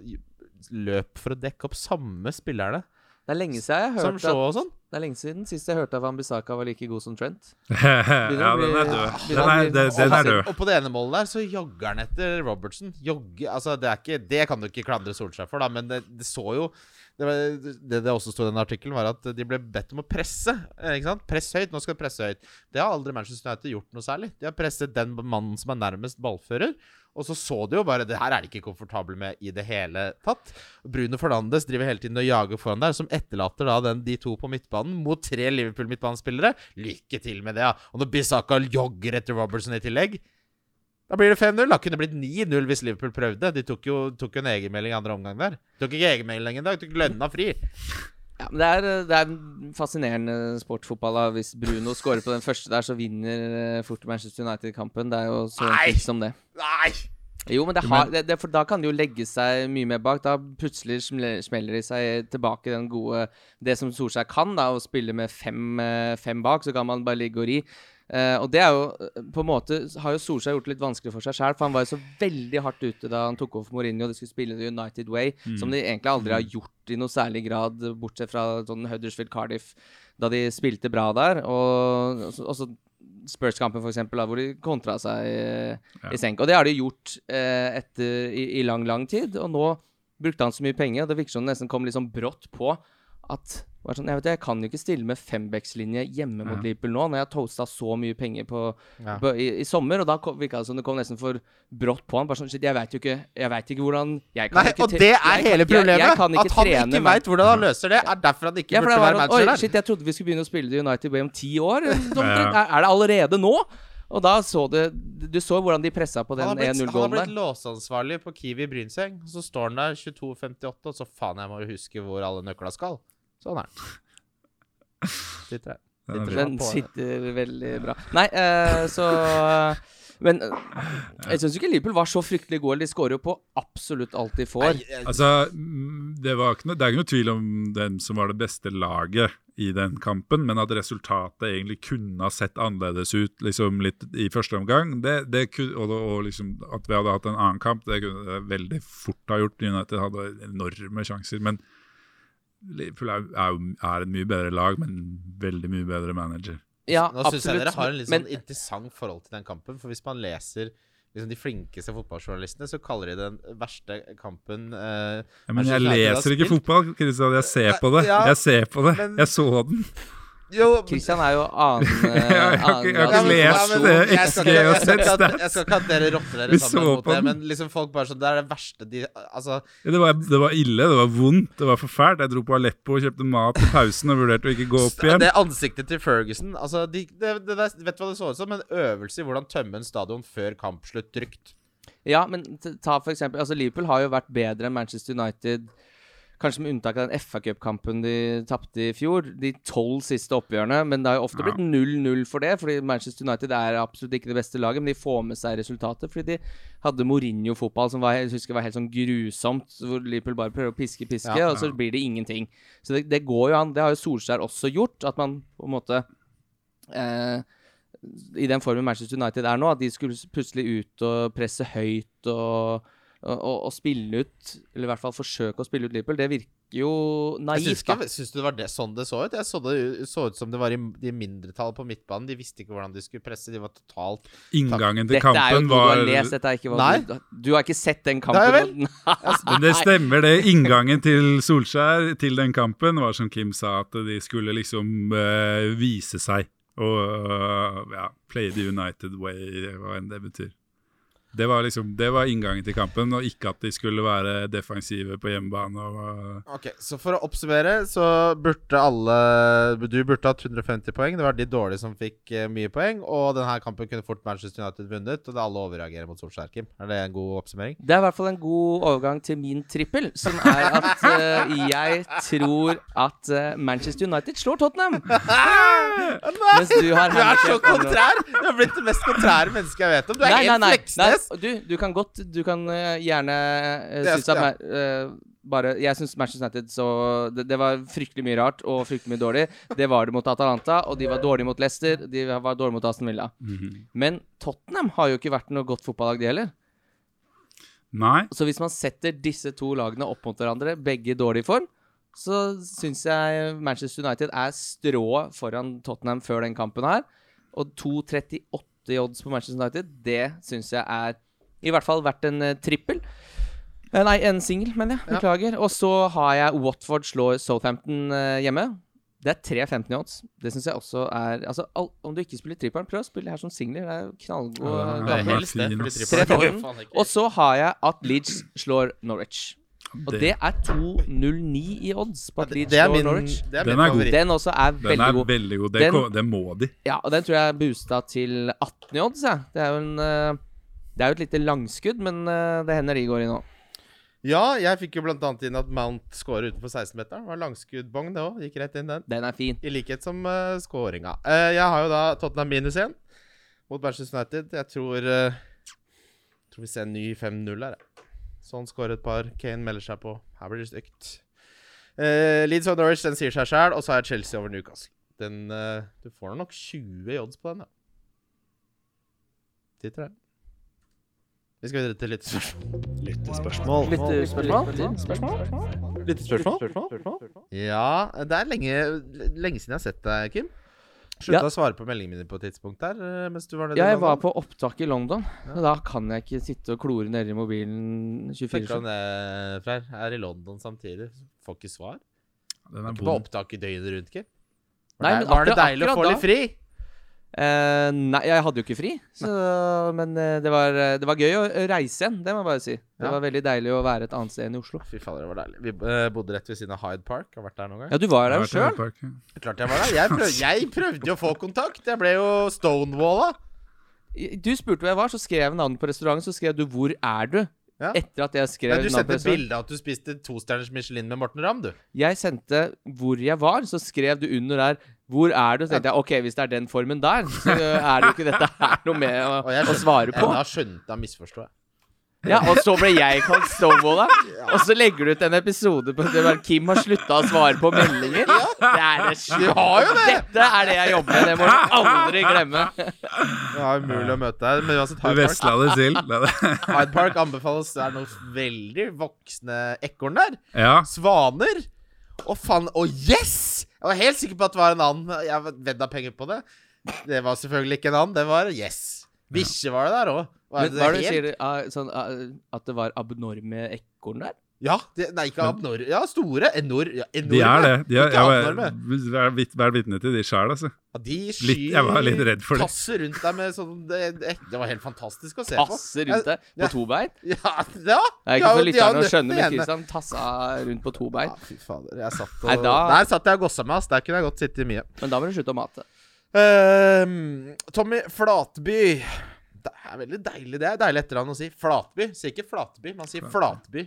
Speaker 2: løp for å dekke opp samme spillerne
Speaker 3: Det er lenge siden jeg har
Speaker 2: som
Speaker 3: hørt
Speaker 2: Shaw
Speaker 3: at,
Speaker 2: og sånn.
Speaker 3: Det er lenge siden sist jeg hørte at Ambisaka var like god som Trent.
Speaker 4: ja, den er død. Den er, den, den er død.
Speaker 2: Og på det ene målet der så jogger han etter Robertson. Jogge, altså Det er ikke Det kan du ikke klandre Solskjær for, da, men det, det så jo det, var, det det også sto i den artikkelen, var at de ble bedt om å presse. eh, Ikke sant? Press høyt. Nå skal du presse høyt. Det har aldri Manchester United gjort noe særlig. De har presset den mannen som er nærmest ballfører. Og så så de jo bare Det her er de ikke komfortable med i det hele tatt. Bruno Fernandes driver hele tiden og jager foran der, som etterlater da den, de to på midtbanen mot tre Liverpool-midtbanespillere. Lykke til med det, ja. Og når Bissaka jogger etter Robertson i tillegg da blir det 5-0. Da kunne det blitt 9-0 hvis Liverpool prøvde. De tok jo, tok jo en egenmelding i andre omgang der. Tok ikke egenmelding engang, tok lønna fri.
Speaker 3: Ja, men det er, eh, det er en fascinerende sportfotball. da. Hvis Bruno scorer på den første der, så vinner eh, fort Manchester United-kampen. Det er jo så
Speaker 2: Nei!
Speaker 3: enkelt som det.
Speaker 2: Nei!
Speaker 3: Jo, men det har, det, det, for da kan det jo legge seg mye mer bak. Da plutselig smle- smeller de seg tilbake den gode Det som Solskjær kan, da, å spille med fem, eh, fem bak, så kan man bare ligge og ri. Eh, og det er jo eh, på en måte Har jo Solskjær gjort det litt vanskelig for seg sjøl, for han var jo så veldig hardt ute da han tok over for Mourinho og de skulle spille The United Way, som de egentlig aldri har gjort i noe særlig grad, bortsett fra sånn Huddersfield Cardiff, da de spilte bra der. Og, og så- og så Spurs-kampen, for eksempel, da, hvor de kontra seg eh, i senk. Og det har de gjort eh, etter, i, i lang, lang tid. Og nå brukte han så mye penger, og det virker som det nesten kom litt sånn brått på at det var sånn, jeg, vet, jeg kan jo ikke stille med fembackslinje hjemme mot Liverpool nå, når jeg har toasta så mye penger på,
Speaker 2: Ja.
Speaker 3: på, i, i sommer. Og da kom- virka det som det kom nesten for brått på han. Bare sånn, shit, jeg veit jo ikke Jeg vet ikke hvordan jeg kan
Speaker 2: Nei,
Speaker 3: ikke
Speaker 2: og
Speaker 3: tre-
Speaker 2: det
Speaker 3: jeg
Speaker 2: er
Speaker 3: kan-
Speaker 2: hele
Speaker 3: jeg-
Speaker 2: problemet.
Speaker 3: Jeg, kan ikke
Speaker 2: at han
Speaker 3: trene
Speaker 2: ikke
Speaker 3: meg. Mhm.
Speaker 2: veit hvordan han løser det, er derfor han ikke
Speaker 3: Ja, for det
Speaker 2: burde
Speaker 3: var
Speaker 2: være
Speaker 3: sånn, Oi,
Speaker 2: manager der.
Speaker 3: shit, jeg trodde vi skulle begynne å spille i United Way om ti år. Sånn,
Speaker 4: Ja.
Speaker 3: Er er det allerede nå? Og da så det Du så hvordan de pressa på den
Speaker 2: Han har blitt, han har
Speaker 3: 1-0-gålen
Speaker 2: blitt
Speaker 3: der.
Speaker 2: låseansvarlig på Kiwi Brynseng. Så står han der 22.58, og så faen, jeg må jo huske hvor alle nøkla skal. Sånn er han. Sitter der.
Speaker 4: Den er
Speaker 2: Sitter
Speaker 4: bra.
Speaker 2: han
Speaker 3: Den
Speaker 2: på-
Speaker 3: sitter veldig bra. Nei, eh, så Men eh, jeg syns ikke Liverpool var så fryktelig gode. De skårer jo på absolutt alt de får.
Speaker 4: Altså, mm, det, var ikke noe, det er ikke noe tvil om hvem som var det beste laget i den kampen, men at resultatet egentlig kunne ha sett annerledes ut liksom litt i første omgang, det, det ku- og, og liksom at vi hadde hatt en annen kamp, det kunne det veldig fort ha gjort. United hadde enorme sjanser. men Liverpool er, er, jo- er et mye bedre lag, men veldig mye bedre manager.
Speaker 3: Ja,
Speaker 2: Nå syns jeg
Speaker 3: absolutt.
Speaker 2: dere har en litt
Speaker 3: Men
Speaker 2: sånn interessant forhold til den kampen. For hvis man leser liksom, de flinkeste fotballjournalistene, så kaller de den verste kampen eh,
Speaker 4: Ja, men
Speaker 2: Manchester United
Speaker 4: jeg
Speaker 2: har
Speaker 4: leser ikke
Speaker 2: spilt.
Speaker 4: fotball, Kristian. Jeg ser på det.
Speaker 2: Ja,
Speaker 4: Jeg ser på det.
Speaker 2: men-
Speaker 4: Jeg så den.
Speaker 2: Jo,
Speaker 3: Christian er jo annen eh,
Speaker 4: Jeg har ikke- jeg har ikke
Speaker 2: men- ja,
Speaker 4: lest,
Speaker 2: men-
Speaker 4: eh,
Speaker 2: jeg skal ikke-
Speaker 4: XG og
Speaker 2: jeg skal ikke at-
Speaker 4: stats.
Speaker 2: Jeg skal ikke at dere rotter dere
Speaker 4: Vi
Speaker 2: sammen
Speaker 4: så
Speaker 2: mot
Speaker 4: på
Speaker 2: det,
Speaker 4: den.
Speaker 2: men liksom folk bare sånn Det er det verste de Altså,
Speaker 4: Ja, det, var, det var ille, det var vondt, det var forfælt. Jeg dro på Aleppo og kjøpte mat i pausen og vurderte å ikke gå opp igjen.
Speaker 2: det ansiktet til Ferguson Altså, de, det, det der, Vet du hva det så ut som? En øvelse i hvordan tømme en stadion før kampslutt trygt.
Speaker 3: Ja, men t- ta for eksempel altså Liverpool har jo vært bedre enn Manchester United. Kanskje med unntak av den FA-cupkampen de tapte i fjor. De tolv siste oppgjørene. Men det har jo ofte
Speaker 4: Ja.
Speaker 3: blitt 0-0 for det. Fordi Manchester United er absolutt ikke det beste laget, men de får med seg resultatet. Fordi de hadde Mourinho-fotball som var, jeg husker var helt sånn grusomt. Hvor Liverpool bare prøver å piske, piske,
Speaker 2: Ja,
Speaker 3: og så blir det ingenting. Så det, det går jo an. Det har jo Solskjær også gjort. At man på en måte eh, i den formen Manchester United er nå, at de skulle plutselig ut og presse høyt og, og, og, og spille ut, eller i hvert fall forsøke å spille ut Liverpool, det virker jo
Speaker 2: Jeg
Speaker 3: naivt.
Speaker 2: syns,
Speaker 3: da.
Speaker 2: ikke, syns du det var det sånn det så ut? Jeg så det så ut som det var i de mindretallet på midtbanen. De visste ikke hvordan de skulle presse. De var totalt
Speaker 4: Inngangen til
Speaker 3: Dette er jo
Speaker 4: kampen
Speaker 3: noe
Speaker 4: var
Speaker 3: du har lest, dette er ikke hva
Speaker 2: Nei.
Speaker 3: du, du har ikke sett den kampen.
Speaker 2: Nei vel.
Speaker 3: og den-
Speaker 4: Men det stemmer, det. Inngangen til Solskjær til den kampen var som Kim sa, at de skulle liksom eh, vise seg. Og eh, ja, play the United way, hva enn det betyr. Det var liksom, det var inngangen til kampen, og ikke at de skulle være defensive på hjemmebane. og... eh,
Speaker 2: Ok, så for å oppsummere, så burde alle Du burde hatt 150 poeng. Det var de dårlige som fikk eh, mye poeng. Og denne kampen kunne fort Manchester United vunnet. Og det alle overreagerer mot Solskjær, Kim. Er det en god oppsummering?
Speaker 3: Det er i hvert fall en god overgang til min trippel, som er at eh, jeg tror at eh, Manchester United slår Tottenham. Mens du har
Speaker 2: Du er så
Speaker 3: handicap-
Speaker 2: kontrær! Du har blitt det mest kontrære mennesket jeg vet om. Du er
Speaker 3: Nei, nei,
Speaker 2: helt
Speaker 3: nei,
Speaker 2: Fleksnes.
Speaker 3: nei. Du, du kan godt Du kan eh, gjerne eh,
Speaker 2: Det
Speaker 3: synes
Speaker 2: skal
Speaker 3: at Ma- eh, bare, Jeg syns Manchester United så det, det var fryktelig mye rart og fryktelig mye dårlig. Det var det mot Atalanta, og de var dårlige mot Leicester. De var dårlige mot Aston Villa. Men Tottenham har jo ikke vært noe godt fotballag, de heller.
Speaker 4: Nei.
Speaker 3: Så hvis man setter disse to lagene opp mot hverandre, begge i dårlig form, så syns jeg Manchester United er strået foran Tottenham før den kampen her. Og 2,38 i odds på Manchester United, det syns jeg er i hvert fall verdt en eh, trippel. Eh, Nei, en singel, mener jeg. Beklager. Og så har jeg Watford slår Southampton eh, hjemme. Det er 3,15 i odds. Det syns jeg også er Altså, all, om du ikke spiller trippelen, prøv å spille her som singler. Det er knallgod
Speaker 4: Ja,
Speaker 3: eh,
Speaker 4: det er
Speaker 3: gameplay.
Speaker 4: helt fin, ass.
Speaker 2: fordi trippel-
Speaker 3: Tre tolv. Og så har jeg at Leeds slår Norwich. Og det,
Speaker 4: Det-
Speaker 3: er 2,09 i odds på at
Speaker 2: Det,
Speaker 3: Leeds
Speaker 2: det er
Speaker 3: slår
Speaker 2: min,
Speaker 3: Norwich.
Speaker 2: det er
Speaker 4: Den
Speaker 2: min
Speaker 4: er god.
Speaker 2: favoritt.
Speaker 3: Den også er
Speaker 4: Den
Speaker 3: veldig
Speaker 4: er
Speaker 3: god.
Speaker 4: veldig god. Det,
Speaker 3: Den-
Speaker 4: ko- det må de.
Speaker 3: Ja, og den tror jeg er boosta til 18 i odds, jeg. Det er jo en eh, Det er jo et lite langskudd, men eh, det hender de går i nå.
Speaker 2: Ja, jeg fikk jo blant annet inn at Mount scorer utenfor 16-meteren. Det var langskuddbong, det òg. Gikk rett inn, den.
Speaker 3: Den er fin.
Speaker 2: I likhet som uh, skåringa. Eh, jeg har jo da Tottenham minus 1 mot Manchester United. Jeg tror eh, Tror vi ser en ny 5-0 her. jeg. Sånn skårer et par. Kane melder seg på. Her blir det stygt. Eh, Leeds og Norwich den sier seg sjæl. Og så er Chelsea over Newcastle. Den, eh, du får nok 20 i odds på den, ja. Titter der. Vi skal videre til litt spørsmål.
Speaker 1: Lyttespørsmål.
Speaker 3: eh,
Speaker 2: Ja, det er lenge, lenge siden jeg har sett deg, Kim.
Speaker 3: Ja.
Speaker 2: Slutta å svare på meldingene mine på et tidspunkt der. eh, Mens du var nede i
Speaker 3: Ja, jeg
Speaker 2: London.
Speaker 3: var på opptak i London, og da kan jeg ikke sitte og klore nedi mobilen
Speaker 2: Tenk
Speaker 3: 24
Speaker 2: om det, eh, Freyr. Er i London samtidig. Får ikke svar.
Speaker 4: Den er
Speaker 2: Ikke på
Speaker 4: vond.
Speaker 2: opptak i døgnet rundt, ikke?
Speaker 3: Nei, men
Speaker 2: Var det- var det
Speaker 3: akkurat-
Speaker 2: deilig å
Speaker 3: akkurat
Speaker 2: få
Speaker 3: da-
Speaker 2: litt fri?
Speaker 3: Eh, nei, jeg hadde jo ikke fri, så, men eh, det, var, eh, det var gøy å reise igjen. Det må jeg bare si. Det
Speaker 2: Ja.
Speaker 3: var veldig deilig å være et annet sted enn i Oslo.
Speaker 2: Fy fader, det var deilig. Vi eh, bodde rett ved siden av Hyde Park. Har vært der noen gang.
Speaker 3: Ja, du var der jo
Speaker 4: Det har vært
Speaker 3: sjøl.
Speaker 4: i Park, ja.
Speaker 2: Klart jeg var der. Jeg, prøv, jeg prøvde jo å få kontakt. Jeg ble jo stonewalla.
Speaker 3: Du spurte hvor jeg var, så skrev jeg navnet på restauranten. Så skrev du 'Hvor er du?'
Speaker 2: Ja.
Speaker 3: Etter at jeg skrev
Speaker 2: Men du
Speaker 3: navnet på
Speaker 2: sendte
Speaker 3: restauranten.
Speaker 2: bilde av at du spiste tostjerners Michelin med Morten Ramm, du.
Speaker 3: Jeg sendte 'Hvor jeg var', så skrev du under der 'Hvor er du?' Så tenkte jeg ok, hvis det er den formen der, så er det jo ikke dette her noe med å,
Speaker 2: Og jeg
Speaker 3: å svare
Speaker 2: Ja,
Speaker 3: på.
Speaker 2: da skjønte jeg misforstod jeg.
Speaker 3: Ja, og så ble jeg kalt Stonewalla. Og så legger du ut en episode på det der Kim har slutta å svare på meldinger. Det er det sjukt.
Speaker 2: har jo det!
Speaker 3: Dette er det jeg jobber med. Det må du aldri glemme.
Speaker 2: Det var umulig å møte deg. Men uansett,
Speaker 4: Du
Speaker 2: Hyde Park,
Speaker 4: vesla det til. Det er det.
Speaker 2: Hyde Park anbefales. Det er noen veldig voksne ekorn der.
Speaker 4: Ja.
Speaker 2: Svaner. Å, faen. Å, yes! Jeg var helt sikker på at det var en annen. Jeg vedda penger på det. Det var selvfølgelig ikke en annen. Det var yes. Bikkje var det der òg.
Speaker 3: eh, Men hva er det du sier ah, sånn, ah, At det var abnorme ekorn der?
Speaker 2: Ja, det, nei, ikke abnorme. Ja, store. Enor, ja, enorme.
Speaker 4: De er det. De er,
Speaker 2: Ikke
Speaker 4: jeg var,
Speaker 2: abnorme.
Speaker 4: vær vit- vær vitne til de sjæl, altså.
Speaker 2: Ja, de skyr
Speaker 4: Litt, jeg var litt redd for det.
Speaker 2: tasser rundt deg med sånn det, det, det var helt fantastisk å se på.
Speaker 3: Tasse rundt deg
Speaker 2: Ja.
Speaker 3: på to bein?
Speaker 2: Ja, ja.
Speaker 3: Det er
Speaker 2: Ja,
Speaker 3: ikke for
Speaker 2: de har
Speaker 3: lytterne å
Speaker 2: nødt
Speaker 3: skjønne, men
Speaker 2: ene.
Speaker 3: Kristian tassa rundt på to
Speaker 2: Ja,
Speaker 3: bein.
Speaker 2: fy fader. Jeg satt og,
Speaker 3: Nei, da-
Speaker 2: Der satt jeg og gossa meg, ass. Der kunne jeg godt sitte mye.
Speaker 3: Men da må du slutte å mate.
Speaker 2: Ehm, Tommy Flatby. Det er veldig deilig, det. er Deilig etternavn å si. Flatby. Sier ikke Flatby, man sier Flatby.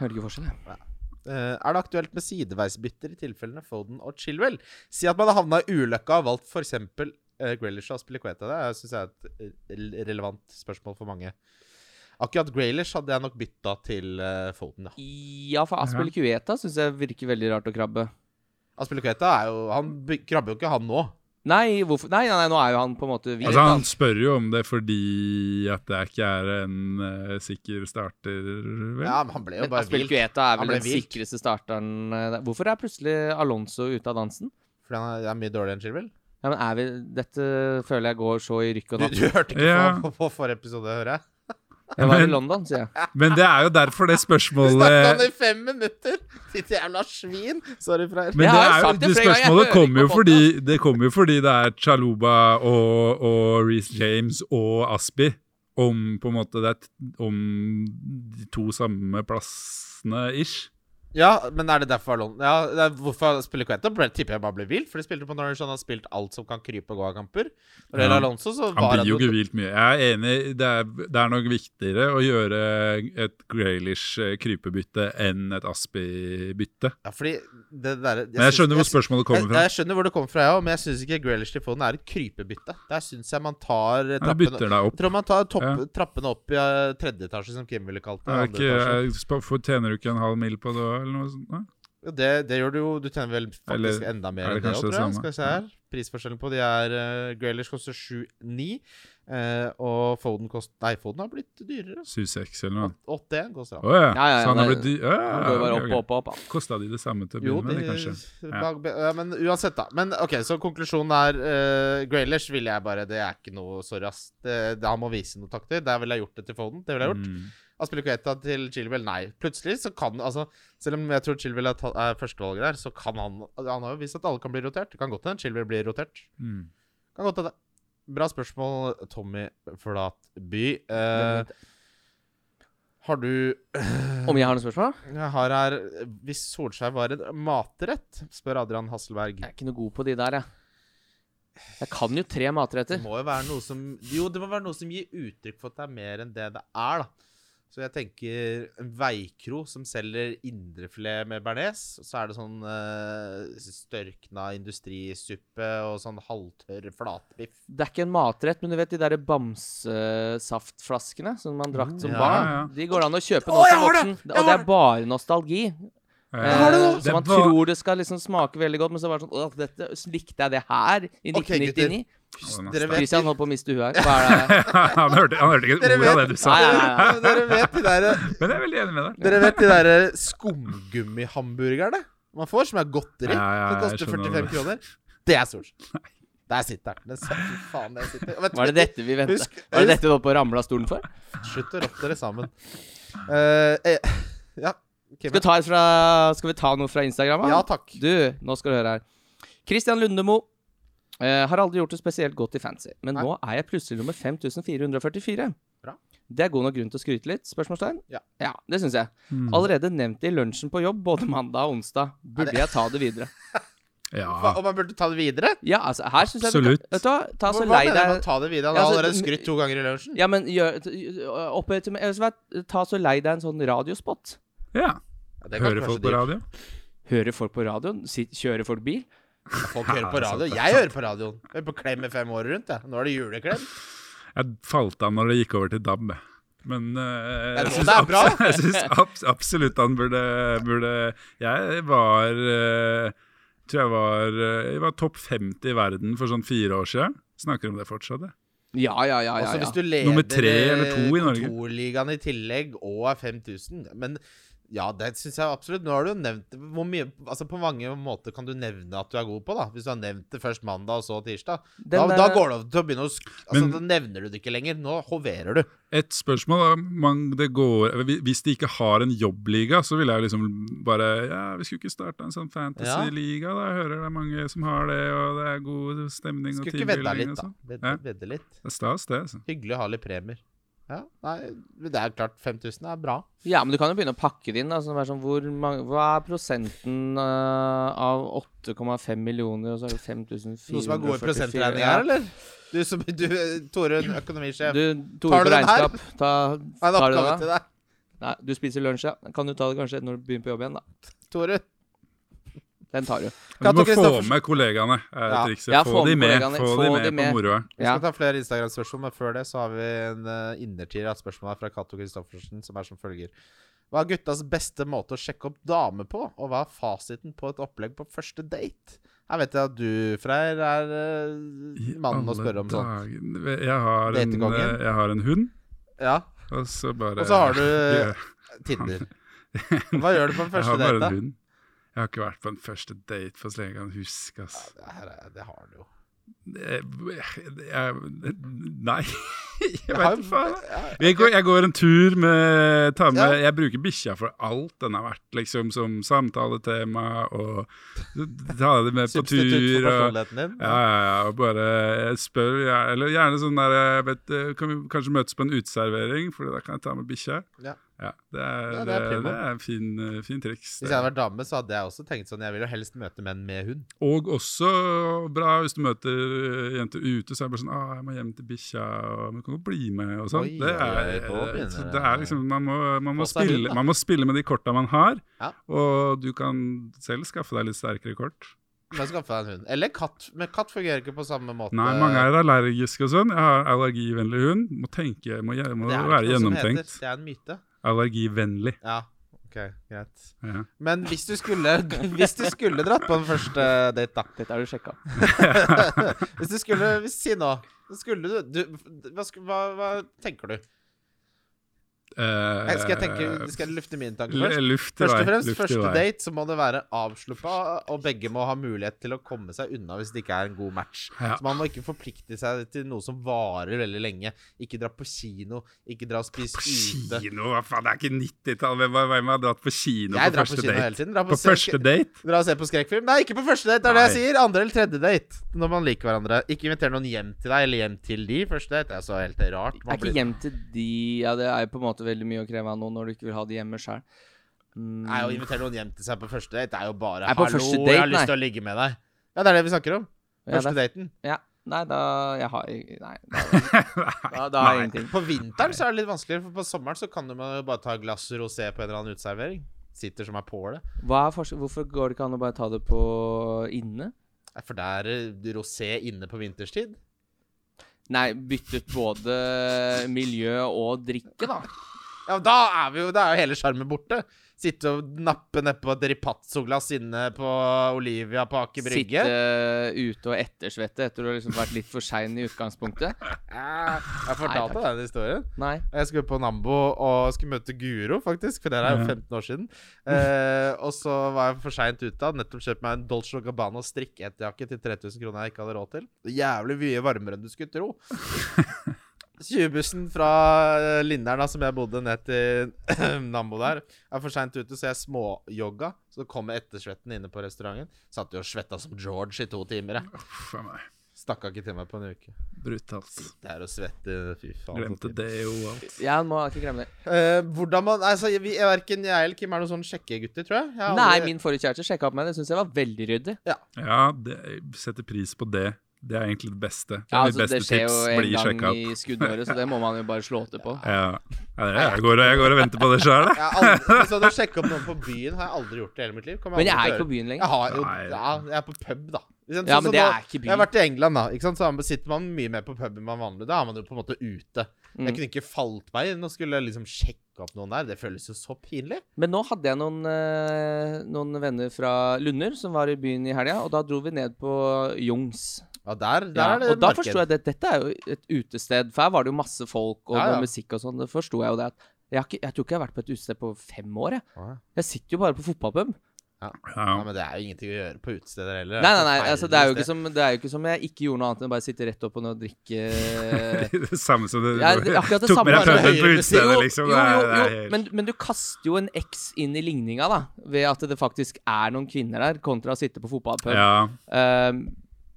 Speaker 3: Hører ikke forskjell, jeg.
Speaker 2: Eh, er det aktuelt med sideveisbytter i tilfellene Foden og Chilwell? Si at man har havna i ulykka og valgt f.eks. Uh, Graylish og Aspilicueta. Det syns jeg er et eh, relevant spørsmål for mange. Akkurat Graylish hadde jeg nok bytta til eh, Foden, ja.
Speaker 3: Ja, for Aspel Cueta syns jeg virker veldig rart å krabbe.
Speaker 2: Aspilicueta er jo Han by- krabber jo ikke, han nå.
Speaker 3: Nei, hvorfor Nei, nei, nei nå er jo han på en måte hvit.
Speaker 4: Altså, han
Speaker 3: da.
Speaker 4: spør jo om det fordi at det ikke er en eh, sikker starter, vel?
Speaker 2: Ja, men han ble jo
Speaker 3: Men
Speaker 2: bare
Speaker 3: Aspel
Speaker 2: vilt.
Speaker 3: Cueta er
Speaker 2: Han
Speaker 3: vel
Speaker 2: ble
Speaker 3: den
Speaker 2: vilt.
Speaker 3: sikreste starteren eh, der. Hvorfor er plutselig Alonso ute av dansen?
Speaker 2: Fordi han er, er mye dårligere enn Chilwell.
Speaker 3: Ja, men er vi Dette føler jeg går så i rykk og
Speaker 2: Du,
Speaker 3: napp.
Speaker 2: du hørte ikke
Speaker 4: Ja.
Speaker 2: på, på, på forrige episode, hører jeg?
Speaker 3: Jeg var i
Speaker 4: Men-
Speaker 3: London, sier jeg.
Speaker 4: Men det er jo derfor det
Speaker 2: Snakka han
Speaker 4: spørsmålet
Speaker 2: i fem minutter! Ditt jævla svin! Sorry, Freyr.
Speaker 4: men
Speaker 3: Jeg
Speaker 4: det
Speaker 3: har jo
Speaker 4: er jo,
Speaker 3: sagt det
Speaker 4: det
Speaker 3: flere ganger, jeg
Speaker 4: spørsmålet
Speaker 3: hører
Speaker 4: kommer jo,
Speaker 3: ikke på
Speaker 4: fordi, det kommer jo fordi det er Chaluba og, og Reece James og Aspi om på en måte det er t- om de to samme plassene ish.
Speaker 2: Ja, men er det derfor Alon Ja, det er hvorfor spiller Quetta? Tipper jeg bare ble vilt, for de spilte på Norwich, han har spilt alt som kan krype og gå av kamper. Når det
Speaker 4: Ja.
Speaker 2: gjelder Alonso, så
Speaker 4: Han
Speaker 2: var
Speaker 4: blir jo
Speaker 2: jo-
Speaker 4: ikke hvilt mye. Jeg er enig, det er, det er nok viktigere å gjøre et Graylish eh, krypebytte enn et Aspi-bytte.
Speaker 2: Ja, fordi det derre
Speaker 4: Men jeg skjønner hvor spørsmålet kommer
Speaker 2: jeg,
Speaker 4: fra.
Speaker 2: jeg skjønner hvor det kommer fra, jeg òg, men jeg syns ikke Grealish til Foden er et krypebytte. Der syns jeg man tar eh,
Speaker 4: Jeg
Speaker 2: trappene
Speaker 4: bytter deg
Speaker 2: Jeg
Speaker 4: opp.
Speaker 2: tror man tar topp,
Speaker 4: Ja.
Speaker 2: trappene opp i eh, tredje etasje, som Kim ville kalt det.
Speaker 4: Er
Speaker 2: Andre
Speaker 4: ikke,
Speaker 2: etasje.
Speaker 4: er, sp- for, tjener du ikke en halv mil på det òg, eller noe sånt? da?
Speaker 2: Ja, det, det gjør du jo. Du tjener vel faktisk
Speaker 4: Eller
Speaker 2: enda mer
Speaker 4: er
Speaker 2: enn det
Speaker 4: det
Speaker 2: òg,
Speaker 4: kanskje
Speaker 2: tror
Speaker 4: det
Speaker 2: jeg.
Speaker 4: samme?
Speaker 2: Skal vi se her. Prisforskjellen på de er uh, Grealish koster 7,9, eh, og Foden kost... Nei, Foden har blitt dyrere.
Speaker 4: 7-6 eller noe?
Speaker 2: 8,1 koster han.
Speaker 4: Å ja.
Speaker 3: Ja, ja, ja,
Speaker 4: Så han har
Speaker 3: det-
Speaker 4: blitt dy... Ja,
Speaker 3: Han går jo bare opp og opp og opp. han.
Speaker 4: Kosta de det samme til å
Speaker 2: Jo,
Speaker 4: begynne med, det, kanskje?
Speaker 2: de-
Speaker 4: Ja.
Speaker 2: bak- ja, men uansett, da. Men OK, så konklusjonen er uh, Grealish ville jeg bare Det er ikke noe Sorry, ass. Det, det, han må vise noe takter. Der ville jeg gjort det til Foden. Det ville jeg gjort.
Speaker 4: Mm.
Speaker 2: Aspilicueta til Chilwell, nei. Plutselig så kan altså Selv om jeg tror Chilwell er, ta- er førstevalget der, så kan han Han har jo vist at alle kan bli rotert. Det kan godt hende Chilwell blir rotert.
Speaker 4: Mm.
Speaker 2: Kan godt hende. Bra spørsmål, Tommy Flatby. Eh, har du
Speaker 3: Eh, Om jeg har noen spørsmål?
Speaker 2: Jeg har her Hvis Solskjær var en matrett, spør Adrian Hasselberg.
Speaker 3: Jeg er ikke noe god på de der, jeg. Jeg kan jo tre
Speaker 2: Det
Speaker 3: matretter.
Speaker 2: må jo være noe som Jo, det må være noe som gir uttrykk for at det er mer enn det det er, da. Så jeg tenker en veikro som selger indrefilet med bearnés. og Så er det sånn eh, størkna industrisuppe og sånn halvtørr flatbiff.
Speaker 3: Det er ikke en matrett, men du vet de der bamsesaftflaskene som man drakk som
Speaker 2: Mm, Ja,
Speaker 3: barn?
Speaker 4: ja.
Speaker 3: De går det an å kjøpe
Speaker 2: Å,
Speaker 3: nå
Speaker 2: jeg
Speaker 3: som
Speaker 2: har det!
Speaker 3: voksen.
Speaker 2: Jeg
Speaker 3: Og det
Speaker 2: har
Speaker 3: er bare nostalgi.
Speaker 4: Eh,
Speaker 3: Eh,
Speaker 4: Det
Speaker 3: så man
Speaker 4: var-
Speaker 3: tror det skal liksom smake veldig godt, men så bare sånn Åh, dette likte jeg det her i
Speaker 2: Ok, gutter.
Speaker 3: 1999.
Speaker 4: han er
Speaker 2: Dere vet
Speaker 3: Christian holdt på å miste huet her. Hva er det?
Speaker 4: Eh, han, hørte, han hørte ikke et
Speaker 2: Dere
Speaker 4: ord av det
Speaker 2: vet-
Speaker 4: du sa.
Speaker 3: Nei, nei, nei.
Speaker 2: Dere vet de der,
Speaker 4: Men jeg er veldig enig med deg.
Speaker 2: dere vet de der eh, skumgummihamburgerne man får, som er godteri,
Speaker 4: Ja, ja,
Speaker 2: som
Speaker 4: jeg
Speaker 2: koster
Speaker 4: skjønner
Speaker 2: 45 kroner? Det er Solskjær. Der sitter han. Den satt- Fy faen, der sitter han. Vet du
Speaker 3: Var det
Speaker 2: hva-
Speaker 3: dette vi ventet?
Speaker 2: Husk-
Speaker 3: Var det dette du holdt på å ramle av stolen for?
Speaker 2: Slutt å rotte dere sammen. Eh, eh, ja, Kim.
Speaker 3: Skal vi ta, et fra, skal vi ta noe fra Instagram? da?
Speaker 2: ja takk.
Speaker 3: Du, nå skal du høre her. Christian Lundemo. eh, har aldri gjort det spesielt godt i fancy, men
Speaker 2: Nei.
Speaker 3: nå er jeg plutselig nummer 5444.
Speaker 2: Bra.
Speaker 3: Det er god nok grunn til å skryte litt? Spørsmålstegn?
Speaker 2: Ja.
Speaker 3: det syns jeg.
Speaker 4: Mm.
Speaker 3: Allerede nevnt det i lunsjen på jobb, både mandag og onsdag. Burde jeg ta det videre?
Speaker 4: Ja.
Speaker 2: Fa- Om man burde ta det videre?
Speaker 3: Ja, altså, her syns jeg du
Speaker 4: Absolutt.
Speaker 3: kan Vet du hva, ta så
Speaker 2: Hva
Speaker 3: lei
Speaker 2: mener du med å
Speaker 3: deg
Speaker 2: ta det videre? Han
Speaker 3: Ja,
Speaker 2: har
Speaker 3: altså,
Speaker 2: allerede
Speaker 3: m-
Speaker 2: skrytt to ganger i lunsjen.
Speaker 3: Ja, men gjør øh, opphøy til meg Jeg vil si, Ta så lei deg en sånn radiospot.
Speaker 4: ja.
Speaker 2: Ja, det kan
Speaker 4: Hører
Speaker 2: kanskje
Speaker 4: folk
Speaker 2: de-
Speaker 4: på radio?
Speaker 3: Hører folk på radioen? Sitt- Kjører folk bil?
Speaker 2: Folk hører på radio. Jeg hører på radioen. Jeg hører på klem i fem år rundt, jeg. Nå er det juleklem.
Speaker 4: Jeg falt av når det gikk over til DAB. jeg. Men eh,
Speaker 2: Ja,
Speaker 4: jeg
Speaker 2: nå,
Speaker 4: syns
Speaker 2: det er bra.
Speaker 4: abs- jeg syns abs absolutt han burde, burde Jeg var eh, Tror jeg var, eh, jeg var topp 50 i verden for sånn fire år siden. Snakker om det fortsatt, jeg.
Speaker 3: Ja, ja, ja. ja,
Speaker 2: Også
Speaker 3: ja.
Speaker 2: hvis du leder eh,
Speaker 4: Nummer tre eller to i Norge.
Speaker 2: kontorligaen i tillegg og er 5000. Men Ja, det syns jeg absolutt. Nå har du jo nevnt det. Hvor mye, altså på mange måter kan du nevne at du er god på, da. Hvis du har nevnt det først mandag og så tirsdag. Da,
Speaker 3: Den,
Speaker 2: da
Speaker 3: eh,
Speaker 2: går det over til å begynne å sk altså,
Speaker 4: Men-
Speaker 2: Da nevner du det ikke lenger. Nå hoverer du.
Speaker 4: Et spørsmål er om man- det går, Hvis de ikke har en jobbliga, så ville jeg liksom bare Ja, vi skulle ikke starta en sånn fantasy-liga, da. Jeg hører det er mange som har det, og det er god stemning
Speaker 2: Skulle
Speaker 4: og
Speaker 2: ikke vedda
Speaker 4: tildeling
Speaker 2: litt,
Speaker 4: og
Speaker 2: da.
Speaker 4: sånn.
Speaker 2: Vedde,
Speaker 4: Ja.
Speaker 2: vedde litt.
Speaker 4: Det er stas, det. altså.
Speaker 2: Hyggelig å ha litt premier. Ja, nei, men det er klart 5000 er bra.
Speaker 3: Ja, men du kan jo begynne å pakke det inn. Da, sånn, være sånn, hvor mange, hva er prosenten eh, av 8,5 millioner, og så er det 5444
Speaker 2: Noen som har gode prosentregninger her, eller? Du som du, Tore, økonomisjef.
Speaker 3: Du, Tore på
Speaker 2: Tar du den her?
Speaker 3: regnskap, ta,
Speaker 2: Har en
Speaker 3: tar du
Speaker 2: oppgave
Speaker 3: det da?
Speaker 2: til deg.
Speaker 3: Nei, du spiser lunsj, ja. Kan du ta det kanskje når du begynner på jobb igjen, da?
Speaker 2: Tore.
Speaker 3: Den tar du.
Speaker 4: Men du må
Speaker 2: Katte
Speaker 4: få
Speaker 2: Kristoffersen.
Speaker 4: med kollegaene. er
Speaker 2: Ja.
Speaker 4: trikset.
Speaker 3: Ja,
Speaker 4: Få de med
Speaker 3: kollegaene,
Speaker 4: få de med på moroa.
Speaker 2: Vi
Speaker 3: Ja.
Speaker 2: skal ta flere Instagram-spørsmål, men før det så har vi en eh, innertier av et spørsmål her fra Cato Christoffersen, som er som følger. Hva er guttas beste måte å sjekke opp dame på, og hva er fasiten på et opplegg på første date? Jeg vet at du, Freyr, er eh,
Speaker 4: I
Speaker 2: mannen å
Speaker 4: alle
Speaker 2: spørre om sånt.
Speaker 4: dager. Jeg har, en,
Speaker 2: Datekongen?
Speaker 4: eh, jeg har en hund,
Speaker 2: Ja,
Speaker 4: og så bare
Speaker 2: Og så har
Speaker 4: Ja,
Speaker 2: du Tinder. Hva gjør du på en
Speaker 4: Jeg
Speaker 2: første
Speaker 4: har
Speaker 2: date,
Speaker 4: bare
Speaker 2: da?
Speaker 4: en hund. Jeg har ikke vært på en første date for så lenge jeg kan huske. ass.
Speaker 2: Det, her er, det har du jo.
Speaker 4: Jeg, jeg, nei, jeg
Speaker 2: Jeg har jo-
Speaker 4: vet ikke faen.
Speaker 2: ja,
Speaker 4: Jeg går, jeg går en tur med, ta med
Speaker 2: Ja.
Speaker 4: Jeg bruker bikkja for alt den har vært, liksom som samtaletema og ta det med på
Speaker 2: Substitutt for
Speaker 4: tur. og
Speaker 2: personligheten din?
Speaker 4: ja, ja, ja. og Bare jeg spør ja, Eller gjerne sånn der jeg vet, eh, Kan vi kanskje møtes på en uteservering, for da kan jeg ta med bikkja?
Speaker 2: Ja.
Speaker 4: det er,
Speaker 2: Ja, det
Speaker 4: det
Speaker 2: er
Speaker 4: er,
Speaker 2: primo.
Speaker 4: det er en fin, eh, fin triks.
Speaker 2: Hvis jeg hadde vært dame, så hadde jeg også tenkt sånn Jeg vil jo helst møte menn med hund.
Speaker 4: Og også bra hvis du møter eh, jenter ute, så er det bare sånn ah, 'Jeg må hjem til bikkja, og du kan jo bli med', og sånn.
Speaker 2: Oi,
Speaker 4: Det er,
Speaker 2: oi, oi, nå
Speaker 4: eh,
Speaker 2: begynner
Speaker 4: så
Speaker 2: det.
Speaker 4: det er liksom Man må, man må,
Speaker 2: Få seg hund,
Speaker 4: spille,
Speaker 2: da.
Speaker 4: man må spille med de korta man har,
Speaker 2: Ja.
Speaker 4: og du kan selv skaffe deg litt sterkere kort.
Speaker 2: Men jeg skaffer deg en hund. Eller katt. Men katt fungerer ikke på samme måte.
Speaker 4: Nei, mange er allergiske og sånn. Jeg har allergivennlig hund. Må tenke, må, gje- må
Speaker 2: Det er ikke
Speaker 4: være
Speaker 2: noe som
Speaker 4: gjennomtenkt.
Speaker 2: heter. Det er en myte.
Speaker 4: Allergivennlig.
Speaker 2: Ja, ok, greit.
Speaker 4: Ja.
Speaker 2: Men hvis du skulle Hvis du skulle dratt på den første date, da
Speaker 3: Dette har du sjekka.
Speaker 2: Hvis du skulle hvis, Si nå. Skulle du, du hva, sku- hva, hva tenker du?
Speaker 4: Eh,
Speaker 2: Skal jeg, tenke, skal jeg lufte mine tanker
Speaker 4: l-
Speaker 2: først?
Speaker 4: Luft i
Speaker 2: Først
Speaker 4: vei.
Speaker 2: og fremst,
Speaker 4: luft i
Speaker 2: første
Speaker 4: vei.
Speaker 2: date så må det være avsluppa, og begge må ha mulighet til å komme seg unna hvis det ikke er en god match.
Speaker 4: Ja.
Speaker 2: Så man må ikke forplikte seg til noe som varer veldig lenge. Ikke dra på kino, ikke dra og spise
Speaker 4: På
Speaker 2: ute.
Speaker 4: kino? Hva faen, det er ikke 90-tall. Hvem, hvem har dratt på kino
Speaker 2: Jeg
Speaker 4: på
Speaker 2: drar på
Speaker 4: første
Speaker 2: kino hele
Speaker 4: date?
Speaker 2: tiden. Dra på,
Speaker 4: På første date?
Speaker 2: Dra og se på skrekkfilm? Nei, ikke på første date. Det er det jeg
Speaker 4: Nei.
Speaker 2: sier. Andre eller tredje date. Når man liker hverandre. Ikke inviter noen hjem til deg, eller hjem til de. Første date er så helt rart. Man
Speaker 3: Er ikke
Speaker 2: blir-
Speaker 3: hjem til de Ja, det er jo på en måte veldig mye å kreve av noen når du ikke vil ha de hjemme Mm, sjøl.
Speaker 2: Nei, å invitere noen hjem til seg på første date er jo bare
Speaker 3: Nei, på
Speaker 2: 'hallo,
Speaker 3: første
Speaker 2: jeg har
Speaker 3: date,
Speaker 2: lyst til å ligge med deg'. Ja, det er det vi snakker om.
Speaker 3: Ja,
Speaker 2: Første daten.
Speaker 3: ja, nei, da Jeg har Nei. Da, da, da har jeg
Speaker 4: Nei.
Speaker 3: ingenting.
Speaker 2: På vinteren så er det litt vanskeligere, for på sommeren så kan du man jo bare ta et glass rosé på en eller annen uteservering. Sitter som ei påle.
Speaker 3: Hva er forskjell- Hvorfor går det ikke an å bare ta det på inne?
Speaker 2: Nei, For der er det rosé inne på vinterstid.
Speaker 3: Nei, bytte ut både miljø og drikke, da.
Speaker 2: Ja, da er vi jo, da er jo hele sjarmen borte. Sitte og nappe nedpå et Ripazzo-glass inne på Olivia på Aker Brygge.
Speaker 3: Sitte ute og ettersvette etter å ha liksom vært litt for sein i utgangspunktet.
Speaker 2: Eh, Jeg fortalte
Speaker 3: Nei,
Speaker 2: deg den historien.
Speaker 3: Nei.
Speaker 2: Jeg skulle på Nambo og skulle møte Guro, faktisk. For det er jo
Speaker 4: Ja.
Speaker 2: 15 år siden. Eh, og så var jeg for seint ute. Hadde nettopp kjøpt meg en Dolce Gabbana strikkeetterjakke til 3000 kroner jeg ikke hadde råd til. Jævlig mye varmere enn du skulle tro. 20-bussen fra eh, Lindern, da, som jeg bodde ned til Nambo der, er for seint ute, så jeg småjogga. Så kom ettersvetten inne på restauranten. Satt jo og svetta som George i to timer. jeg.
Speaker 4: Uff a meg.
Speaker 2: Stakk av ikke til meg på en uke.
Speaker 4: Brutalt.
Speaker 2: Det er å svette, fy faen.
Speaker 4: Glemte det jo alt.
Speaker 3: Jeg må ikke glemme det.
Speaker 2: Eh, hvordan man altså, vi, jeg, Verken jeg eller Kim er noen sånne sjekkegutter, tror jeg. jeg har
Speaker 3: Nei,
Speaker 2: aldri-
Speaker 3: min forrige kjæreste sjekka opp meg. Det syns jeg var veldig ryddig.
Speaker 4: Ja, det, jeg setter pris på det. Det er egentlig det beste. Det er
Speaker 3: Ja,
Speaker 4: mitt
Speaker 3: altså,
Speaker 4: beste
Speaker 3: det skjer jo
Speaker 4: tips.
Speaker 3: en
Speaker 4: Bli
Speaker 3: gang
Speaker 4: sjekka opp.
Speaker 3: i skuddåret, så det må man jo bare slå til på.
Speaker 4: Ja. Ja, det er- jeg, går, og- jeg går og venter på det sjøl, jeg.
Speaker 2: jeg har aldri, Hvis jeg hadde sjekket opp noen på byen, har jeg aldri gjort det i hele mitt liv. Kommer
Speaker 3: Men jeg er ikke
Speaker 2: aldri til
Speaker 3: på
Speaker 2: å gjøre.
Speaker 3: byen
Speaker 2: Jeg,
Speaker 3: lenger.
Speaker 2: har, jo,
Speaker 4: Nei.
Speaker 2: ja, jeg er på pub, da. Ikke sant?
Speaker 3: Ja,
Speaker 2: Sånn
Speaker 3: men
Speaker 2: som
Speaker 3: det
Speaker 2: nå-
Speaker 3: er ikke by.
Speaker 2: Jeg har vært i England, da. Ikke sant? Så han sitter man mye mer på pub enn man vanlig. Da er man jo på en måte ute. Jeg
Speaker 3: Mm.
Speaker 2: kunne ikke falt meg inn og skulle liksom sjekke opp noen der. Det føles jo så pinlig.
Speaker 3: Men nå hadde jeg noen, eh, noen venner fra Lunder som var i byen i helga, og da dro vi ned på Jungs.
Speaker 2: Ja, der, der
Speaker 3: Ja,
Speaker 2: er det
Speaker 3: og da forsto jeg at dette er jo et utested, for her var det jo masse folk og
Speaker 2: Ja, ja.
Speaker 3: noe musikk og sånn. Da forsto jeg jo det at Jeg, har ikke, jeg tror ikke jeg har vært på et utested på fem år. Jeg,
Speaker 2: Åh, ja.
Speaker 3: jeg sitter jo bare på fotballpub.
Speaker 2: Nei, men det er jo ingenting å gjøre på utesteder heller.
Speaker 3: Nei, nei, nei, altså, det, er jo ikke som, det er jo ikke som jeg ikke gjorde noe annet enn å bare sitte rett opp og nå drikke
Speaker 4: Det samme som du
Speaker 3: Ja, det- akkurat det
Speaker 4: tok
Speaker 3: samme,
Speaker 4: med deg
Speaker 3: bare
Speaker 4: puben på
Speaker 2: høyere musikk.
Speaker 4: utestedet, liksom.
Speaker 3: jo, jo,
Speaker 4: Det er-
Speaker 3: jo,
Speaker 4: det er helt-
Speaker 3: men, men du kaster jo en X inn i ligninga, da. Ved at det faktisk er noen kvinner der, kontra å sitte på fotballpub.
Speaker 4: ja.
Speaker 3: Ehm,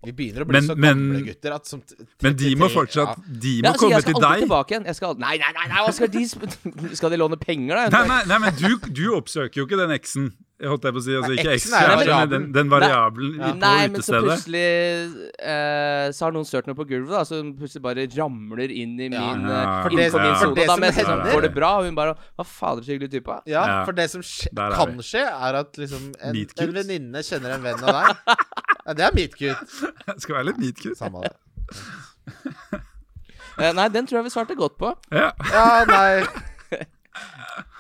Speaker 2: Vi begynner å bli
Speaker 4: Men-
Speaker 2: så
Speaker 4: men-
Speaker 2: gamle gutter at som t-
Speaker 4: Men de må
Speaker 2: 33
Speaker 4: fortsatt
Speaker 2: ja.
Speaker 4: De
Speaker 3: ja,
Speaker 4: må
Speaker 3: altså,
Speaker 4: komme
Speaker 3: jeg skal
Speaker 4: til
Speaker 3: alltid
Speaker 4: deg.
Speaker 3: tilbake igjen. Jeg skal, al- nei, nei, nei, nei, hva skal de sp- Skal de låne penger, da?
Speaker 4: Nei, nei, nei, men du, du oppsøker jo ikke den X-en, holdt jeg på å si. Altså,
Speaker 2: Nei,
Speaker 4: ikke X,
Speaker 2: X-en er
Speaker 4: ja,
Speaker 2: variabelen.
Speaker 4: men den, den variabelen
Speaker 3: Ja.
Speaker 4: på
Speaker 3: Nei, men så
Speaker 4: utestedet.
Speaker 3: plutselig eh, Så har noen sølt noe på gulvet, da, så hun plutselig bare ramler inn i min
Speaker 2: Ja.
Speaker 4: Ja.
Speaker 3: eh,
Speaker 4: For
Speaker 3: inn
Speaker 4: det-
Speaker 3: på min
Speaker 4: for
Speaker 3: sone.
Speaker 2: det
Speaker 3: Da
Speaker 2: som
Speaker 3: må jeg si sånn,
Speaker 4: hender-
Speaker 3: går det bra? Og hun bare Hva fader, så hyggelig type.
Speaker 2: Ja,
Speaker 4: Ja.
Speaker 2: for det som skje,
Speaker 4: Der er
Speaker 2: kan
Speaker 4: vi.
Speaker 2: skje, er at liksom en, en
Speaker 4: Meet cute.
Speaker 2: venninne kjenner en venn av deg. Ja, det er meet cute.
Speaker 4: Skal være litt neatcute.
Speaker 2: Samme det.
Speaker 3: Eh, nei, den tror jeg vi svarte godt på.
Speaker 4: Ja.
Speaker 2: Ja, nei.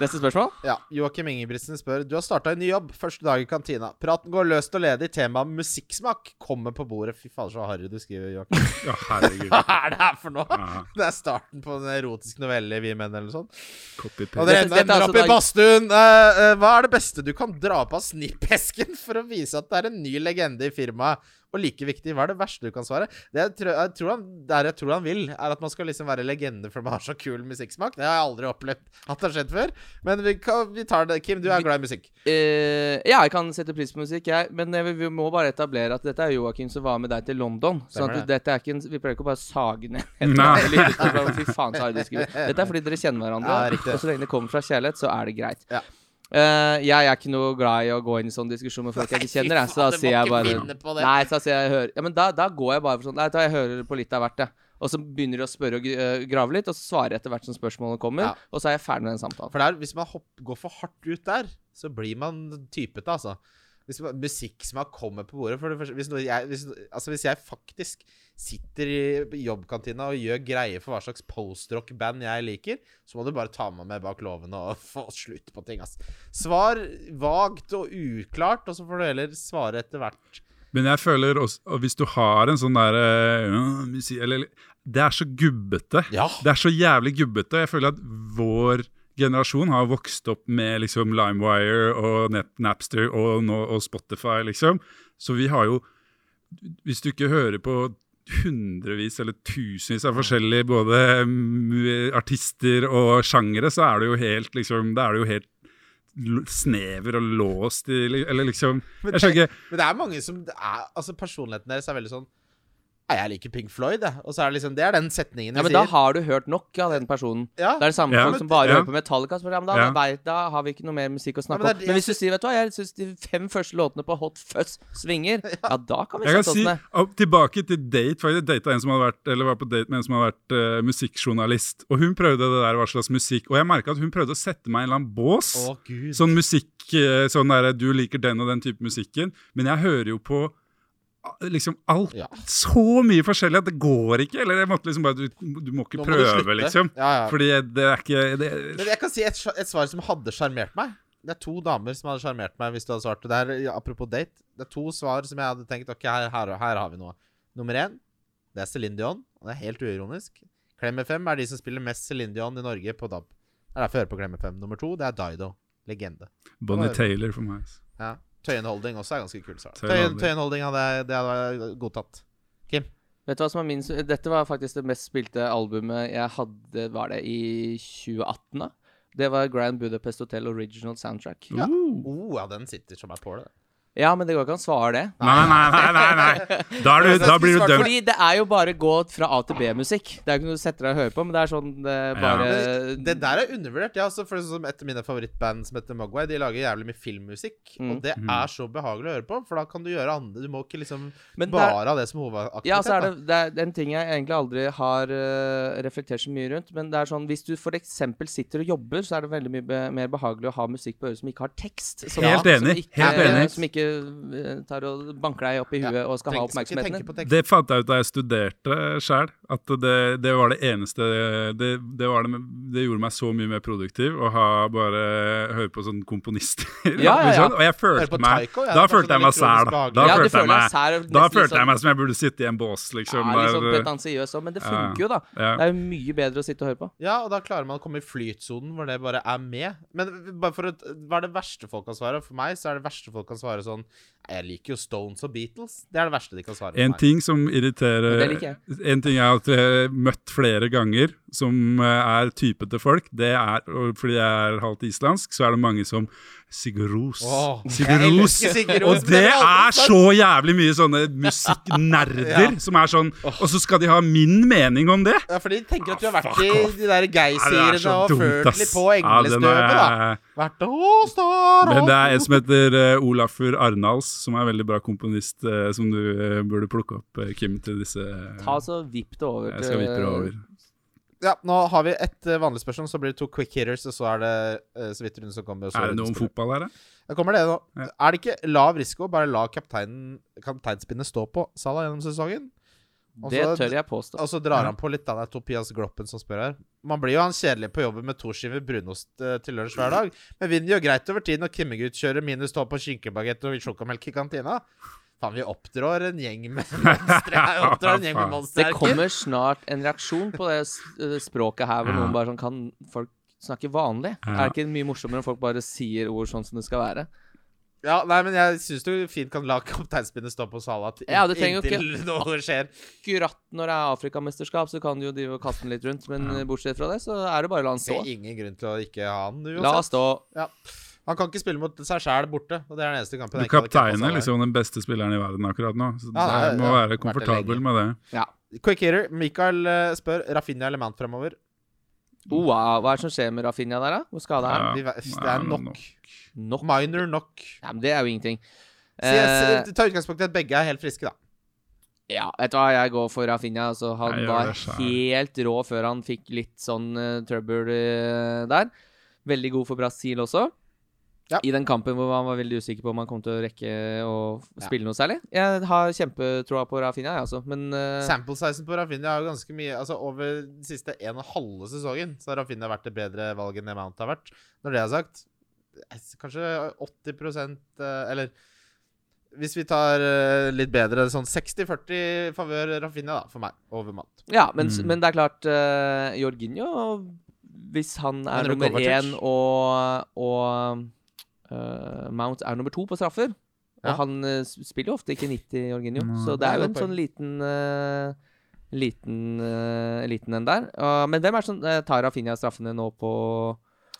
Speaker 3: Neste spørsmål.
Speaker 2: Ja, Joakim Ingebrigtsen spør Du har starta en ny jobb. Første dag i kantina. Praten går løst og ledig. Temaet musikksmak kommer på bordet. Fy fader, så harry du skriver, Joakim.
Speaker 4: ja, herregud.
Speaker 2: Hva er det her for noe?
Speaker 4: Ja,
Speaker 2: Det er starten på en erotisk novelle i Vi menn eller noe sånt. Og
Speaker 4: Copy-paste.
Speaker 2: dere
Speaker 3: Dette- dette er
Speaker 2: ender
Speaker 3: altså
Speaker 2: opp i
Speaker 3: da-
Speaker 2: badstuen. Eh, eh, hva er det beste du kan dra på av snippesken for å vise at det er en ny legende i firmaet? Og like viktig, hva er det verste du kan svare? Det jeg tror, jeg tror han, der jeg tror han vil, er at man skal liksom være legende fordi man har så kul musikksmak. Det har jeg aldri opplevd at det har skjedd før. Men vi, kan, vi tar det. Kim, du er glad i musikk.
Speaker 3: Eh, ja, jeg kan sette pris på musikk, jeg. Men jeg, vil- vi må bare etablere at dette er Joakim som var med deg til London. Så
Speaker 2: Stemmer
Speaker 3: at
Speaker 2: det.
Speaker 3: dette er ikke en, vi pleier ikke å bare sage ned
Speaker 4: Nei.
Speaker 3: Eller lytte til hverandre, Fy faen, så harry du skriver. Dette er fordi dere kjenner
Speaker 2: Ja,
Speaker 3: hverandre.
Speaker 2: det er riktig.
Speaker 3: og så lenge det kommer fra kjærlighet, så er det greit.
Speaker 2: Ja.
Speaker 3: Eh, jeg er ikke noe glad i å gå inn i sånn diskusjon med folk jeg ikke
Speaker 2: Nei, fy
Speaker 3: kjenner. jeg, Så
Speaker 2: faen,
Speaker 3: da
Speaker 2: du må
Speaker 3: sier jeg
Speaker 2: ikke
Speaker 3: bare
Speaker 2: vinne på det.
Speaker 3: Nei, så da sier jeg hører, ja, men da, da går jeg bare for sånn Nei, da jeg hører på litt av hvert, jeg. Og så begynner de å spørre og gr- eh, grave litt, og så svarer jeg etter hvert som spørsmålene kommer.
Speaker 2: Ja.
Speaker 3: Og så er jeg ferdig med den samtalen.
Speaker 2: For der, hvis man hopp, går for hardt ut der, så blir man typete, altså. Hvis man, musikksmak kommer på bordet for det første, hvis, noe jeg, hvis, altså hvis jeg faktisk sitter i jobbkantina og gjør greie for hva slags postrock-band jeg liker, så må du bare ta meg med bak låven og få slutt på ting. ass. Svar vagt og uklart, og så får du heller svare etter hvert.
Speaker 4: Men jeg føler også og Hvis du har en sånn der eh, ja, musi- eller, Det er så gubbete.
Speaker 2: Ja.
Speaker 4: Det er så jævlig gubbete. og Jeg føler at vår generasjon har vokst opp med liksom LimeWire og Nap Napster og, nå- og Spotify, liksom. Så vi har jo Hvis du ikke hører på hundrevis eller tusenvis av forskjellige både mm, artister og sjangere, så er det jo helt liksom Da er det jo helt l- snever og låst i li- Eller liksom
Speaker 2: Men
Speaker 4: Jeg skjønner ikke
Speaker 2: Men det er mange som det er, altså Personligheten deres er veldig sånn Nei, jeg liker Pink Floyd, jeg. Og så er det liksom Det er den setningen
Speaker 3: Ja,
Speaker 2: jeg
Speaker 3: men da
Speaker 2: sier.
Speaker 3: har du hørt nok av den personen.
Speaker 2: Ja.
Speaker 3: Det er det samme
Speaker 4: Ja,
Speaker 3: folk
Speaker 4: men-
Speaker 3: som bare
Speaker 4: ja.
Speaker 3: hører på Metallica. Så, bare, ja, men da,
Speaker 4: Ja.
Speaker 3: nei, da har vi ikke noe mer musikk å snakke
Speaker 2: Ja, men det er
Speaker 3: om.
Speaker 2: det
Speaker 3: Men
Speaker 2: jeg
Speaker 3: hvis du sier vet du hva, jeg syns de fem første låtene på Hot Fuzz svinger, ja, da kan vi
Speaker 4: jeg kan
Speaker 3: sette oss
Speaker 4: si,
Speaker 3: ned.
Speaker 4: opp- Tilbake til date. for Jeg data en som hadde vært, eller var på date med en som hadde vært eh, musikkjournalist. Og hun prøvde det der hva slags musikk Og jeg merka at hun prøvde å sette meg i en eller annen bås.
Speaker 2: Å, Gud.
Speaker 4: Sånn musikk, eh, sånn der, du liker den og den type musikken, men jeg hører jo på ah, liksom alt,
Speaker 2: Ja.
Speaker 4: så mye forskjellig at det går ikke, eller jeg måtte liksom bare, du, du må ikke
Speaker 2: Nå må du
Speaker 4: prøve,
Speaker 2: slutte.
Speaker 4: liksom.
Speaker 2: Ja, ja.
Speaker 4: Fordi det er ikke, det,
Speaker 2: Men jeg kan si et, sj- et svar som hadde sjarmert meg. Det er to damer som hadde sjarmert meg hvis du hadde svart. Det er, ja, apropos date. Det er to svar som jeg hadde tenkt Ok, her, her, her har vi noe. Nummer én, det er Céline Dion. Og det er helt uironisk. Klem FM er de som spiller mest Céline Dion i Norge på DAB. Det er derfor jeg hører på Klem FM. Nummer to, det er Dido. Legende.
Speaker 4: Bonnie
Speaker 2: det var-
Speaker 4: Taylor for meg. altså.
Speaker 2: Ja. Tøyen Holding også er ganske kul svar.
Speaker 4: Tøyen
Speaker 2: Tøyen,
Speaker 4: Holding.
Speaker 2: Tøyen Holding hadde jeg det hadde jeg godtatt.
Speaker 3: Vet du hva som er min s- Dette var faktisk det mest spilte albumet jeg hadde, var det i 2018, da? Det var Grand Budapest Hotel original soundtrack.
Speaker 2: Ja.
Speaker 4: Uh.
Speaker 2: Oh, ja, den sitter som ei påle.
Speaker 3: Ja, men det går ikke an å svare det.
Speaker 4: Nei, nei, nei, nei, nei. Da, er du, da blir du dømt.
Speaker 3: Fordi det er jo bare gå fra A til B-musikk. Det er jo ikke noe du setter deg og hører på, men det er sånn det er
Speaker 4: Ja.
Speaker 3: bare
Speaker 2: Men Det der er undervurdert. Ja, altså, for det er sånn som Et av mine favorittband som heter Mogwai, de lager jævlig mye filmmusikk.
Speaker 3: Mm.
Speaker 2: Og det er så behagelig å høre på, for da kan du gjøre andre Du må ikke liksom
Speaker 3: Men det er-
Speaker 2: bare ha det som hovedaktivitet.
Speaker 3: Ja, så er
Speaker 2: da.
Speaker 3: det, det er en ting jeg egentlig aldri har eh, reflektert så mye rundt. Men det er sånn, hvis du f.eks. sitter og jobber, så er det veldig mye be mer behagelig å ha musikk på øret som ikke har tekst. Som
Speaker 4: Helt
Speaker 3: annet, Som
Speaker 4: enig,
Speaker 3: ikke,
Speaker 4: helt enig.
Speaker 3: Som ikke ikke eh, tar og banker deg opp i huet og skal ha
Speaker 2: Trenger- skal ikke
Speaker 3: oppmerksomheten
Speaker 2: tenke
Speaker 3: din.
Speaker 2: på tekst.
Speaker 4: Det fant jeg ut da jeg studerte sjøl, at det, det var det eneste det, det, var det, det gjorde meg så mye mer produktiv å ha bare høre på sånne komponister. Liksom.
Speaker 3: Ja, ja, ja.
Speaker 4: Og jeg
Speaker 2: Hører på
Speaker 4: følte meg
Speaker 2: Taiko, ja,
Speaker 4: Da
Speaker 2: det er
Speaker 4: følte jeg meg
Speaker 2: sånn elektronisk
Speaker 4: sær, da.
Speaker 2: behagelig.
Speaker 4: Da
Speaker 3: Ja, du
Speaker 4: følte
Speaker 3: føler
Speaker 4: jeg
Speaker 3: deg
Speaker 4: meg,
Speaker 3: sær og
Speaker 4: da
Speaker 3: nesten litt
Speaker 4: følte
Speaker 3: sånn-
Speaker 4: jeg meg som jeg burde sitte i en bås, liksom.
Speaker 3: Ja, litt sånn
Speaker 4: der,
Speaker 3: pretensiøs òg, men det
Speaker 4: Ja,
Speaker 3: funker jo, da.
Speaker 4: ja.
Speaker 3: Det er jo mye bedre å sitte og høre på.
Speaker 2: Ja, og da klarer man å komme i flytsonen hvor det bare er med. Men bare for å, hva er det verste folk kan svare? For meg så er det verste folk kan svare sånn «Nei, Jeg liker jo Stones og Beatles. Det er det verste de kan svare. for
Speaker 4: En
Speaker 2: meg.
Speaker 4: ting som irriterer
Speaker 3: Det liker jeg.
Speaker 4: En ting jeg har hatt- møtt flere ganger, som eh, er type til folk, det er og Fordi jeg er halvt islandsk, så er det mange som Sigur Ros.
Speaker 2: Åh,
Speaker 4: Sigur
Speaker 2: jeg
Speaker 4: Ros.
Speaker 2: elsker Sigur Ros,
Speaker 4: Og
Speaker 2: men
Speaker 4: det
Speaker 2: det er
Speaker 4: er
Speaker 2: alltid sånn.
Speaker 4: så jævlig mye sånne musikknerder
Speaker 2: Ja.
Speaker 4: som er sånn Og så skal de ha min mening om det!
Speaker 2: Ja, for de tenker at du har
Speaker 4: Ah,
Speaker 2: vært
Speaker 4: fuck
Speaker 2: i
Speaker 4: off.
Speaker 2: de der
Speaker 4: Ja, det er
Speaker 2: geysirene
Speaker 4: så
Speaker 2: og
Speaker 4: dumt,
Speaker 2: følt
Speaker 4: ass.
Speaker 2: litt på
Speaker 4: Ja, den
Speaker 2: englestøvet, da.
Speaker 4: er-
Speaker 2: Vært og står
Speaker 4: Men det er en
Speaker 2: og-
Speaker 4: som heter eh, Olafur Arnals, som er en veldig bra komponist, eh, som du eh, burde plukke opp, eh, Kim, til disse eh,
Speaker 3: Ta så vipp det over.
Speaker 4: Jeg skal
Speaker 3: til-
Speaker 4: vippe det over.
Speaker 2: Ja, nå har vi et eh, vanlig spørsmål, så blir det to quick hitters, og så er det eh, så vidt rundt som kommer. og så
Speaker 4: Er det noe om
Speaker 2: rundspillet.
Speaker 4: fotball her, da?
Speaker 2: Da kommer det nå.
Speaker 4: Ja.
Speaker 2: Er det ikke lav risiko, bare la kapteinen, kapteinspinnet stå på Salah gjennom sesongen? Og
Speaker 3: Det
Speaker 2: så-
Speaker 3: tør jeg påstå.
Speaker 2: Og så drar han på litt. da. Det er Topias Gloppen som spør her. Man blir jo han kjedelig på jobben med to skiver brunost eh, til lunsj hver dag, men vinner jo greit over tid når Kimmegut kjører minus tolv på skinkebagett og sjokomelk i kantina. Faen, vi oppdrar en gjeng med monstre her. Oppdrar en gjeng med monstre
Speaker 3: Det
Speaker 2: her, Kim.
Speaker 3: kommer snart en reaksjon på det s- eh, språket her, hvor
Speaker 4: Ja.
Speaker 3: noen bare sånn Kan folk snakke vanlig?
Speaker 4: Ja.
Speaker 3: Er det ikke mye morsommere om folk bare sier ord sånn som det skal være?
Speaker 2: Ja, nei, men jeg syns du fint kan la kapteinspinnet stå på Sala til,
Speaker 3: Ja, det trenger jo
Speaker 2: inntil noe skjer.
Speaker 3: Akkurat når det er Afrikamesterskap, så kan du jo drive og kaste den litt rundt, men eh, bortsett fra det, så er det bare å la den
Speaker 2: Det
Speaker 3: stå.
Speaker 2: er ingen grunn til å ikke ha han
Speaker 3: La den
Speaker 2: uansett.
Speaker 3: stå.
Speaker 2: Ja. Han kan ikke spille mot seg sjæl borte, og det er den eneste kampen
Speaker 4: Du
Speaker 2: jeg ikke hadde kjempet
Speaker 4: kapteinen er
Speaker 2: Salah i.
Speaker 4: liksom den beste spilleren i verden akkurat nå, så
Speaker 2: Ja, ja,
Speaker 4: jeg må
Speaker 2: ja.
Speaker 4: være
Speaker 2: Vært det
Speaker 4: komfortabel med det.
Speaker 3: Ja.
Speaker 2: Quick hitter. Michael eh, spør Rafinha eller Mount fremover.
Speaker 3: Wow, hva er det som skjer med Rafinha der, da? Hvor skada er han?
Speaker 4: Ja.
Speaker 2: Vi, ve- det
Speaker 4: Ja,
Speaker 2: er
Speaker 4: men
Speaker 2: nok.
Speaker 4: nok.
Speaker 3: Nok?
Speaker 2: Minor nok.
Speaker 3: Ja, men det er jo ingenting.
Speaker 2: Så jeg,
Speaker 3: Eh,
Speaker 2: så- ta utgangspunkt i at begge er helt friske, da.
Speaker 3: Ja, vet du hva, jeg går for Rafinha. Altså, han
Speaker 4: Jeg gjør
Speaker 3: var
Speaker 4: det selv.
Speaker 3: helt rå før han fikk litt sånn eh, trøbbel eh, der. Veldig god for Brasil også.
Speaker 2: Ja.
Speaker 3: I den kampen hvor han var veldig usikker på om han kom til å rekke å f-
Speaker 2: Ja.
Speaker 3: spille noe særlig. Jeg har kjempetroa på Rafinha, jeg også, men eh,
Speaker 2: Sample sizen på Rafinha er jo ganske mye Altså Over de siste en og halve sesongen Så har Rafinha vært det bedre valget enn det Mount har vært. Når det er sagt, eh, kanskje 80 eh, Eller hvis vi tar eh, litt bedre, sånn 60-40 favør Rafinha, da, for meg, over Mount.
Speaker 3: Ja, men, s-
Speaker 4: Mm.
Speaker 3: men det er klart uh, Jorginho Hvis han er
Speaker 2: Men
Speaker 3: nummer
Speaker 2: Kovacic?
Speaker 3: én og, og eh, Mount er nummer to på straffer
Speaker 2: Ja.
Speaker 3: Og han eh, s- spiller jo ofte ikke 90, Jorginho.
Speaker 4: Nei.
Speaker 3: Så det
Speaker 2: Nei,
Speaker 3: er jo
Speaker 2: godt
Speaker 3: en sånn liten eh, Liten eh, Liten en der. Og- men hvem er det som eh, tar Rafinha straffene nå på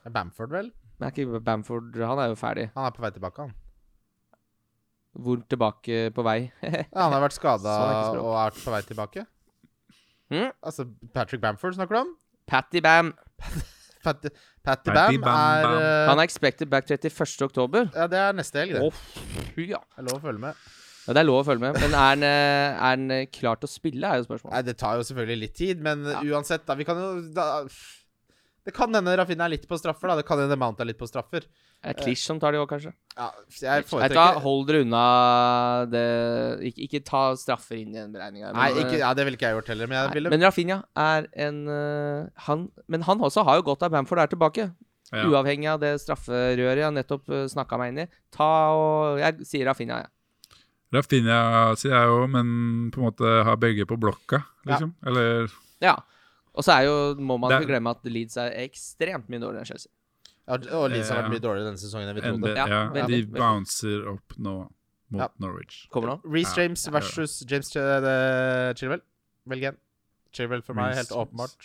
Speaker 2: Bamford, vel?
Speaker 3: Nei, ikke Bamford, han er jo ferdig.
Speaker 2: Han er på vei tilbake, han.
Speaker 3: Hvor tilbake på vei?
Speaker 2: Ja, han har vært skada
Speaker 3: Sånn er ikke språk.
Speaker 2: og er på vei tilbake.
Speaker 3: Mm.
Speaker 2: Altså Patrick Bamford snakker du om?
Speaker 3: Patty Bam!
Speaker 2: Patty, Patty,
Speaker 4: Patty
Speaker 2: Bam,
Speaker 4: Bam
Speaker 2: er
Speaker 4: Bam.
Speaker 2: eh,
Speaker 3: Han er expected back 31. oktober.
Speaker 2: Ja, det er neste helg, det.
Speaker 3: Å, fy, ja.
Speaker 2: Jeg lover å følge med.
Speaker 3: ja. Det er lov å følge med. Men er han, eh, er han eh, klar til å spille, er jo spørsmålet.
Speaker 2: Nei, det tar jo selvfølgelig litt tid, men uansett, da. Vi kan jo da, Det kan hende Rafinha er litt på straffer, da. Det kan hende Mount er litt på straffer.
Speaker 3: Er Klish som tar de òg, kanskje?
Speaker 2: Ja, jeg
Speaker 3: Vet du hva,
Speaker 2: foretrekker
Speaker 3: hold dere unna det ikke, ikke ta straffer inn i den beregninga.
Speaker 2: Nei, ikke, ja, det ville ikke jeg gjort heller, men jeg
Speaker 3: Nei,
Speaker 2: ville
Speaker 3: Men Rafinha er en øh, han, Men han også har jo godt av Bamford er tilbake.
Speaker 4: Ja.
Speaker 3: Uavhengig av det strafferøret jeg nettopp uh, snakka meg inn i. Ta og Jeg sier Rafinha, jeg.
Speaker 4: Rafinha sier jeg òg, men på en måte har begge på blokka, liksom. Eller
Speaker 3: Ja. Og så er jo, må man
Speaker 4: Det er-
Speaker 3: ikke glemme at Leeds er ekstremt mye dårligere enn Chelsea.
Speaker 2: Ja, Og Leeds har vært
Speaker 4: Ja.
Speaker 2: mye dårligere denne sesongen enn vi
Speaker 4: NB,
Speaker 2: trodde.
Speaker 3: Ja,
Speaker 4: ja,
Speaker 3: veldig,
Speaker 4: De
Speaker 3: veldig.
Speaker 4: bouncer opp nå mot
Speaker 2: Ja.
Speaker 4: Norwich.
Speaker 3: Kommer det an?
Speaker 2: Reece
Speaker 4: Ja,
Speaker 2: James
Speaker 4: ja.
Speaker 2: versus James Ch eh, Chilwell. Velg en. Chilwell for meg,
Speaker 4: Reece
Speaker 2: helt åpenbart.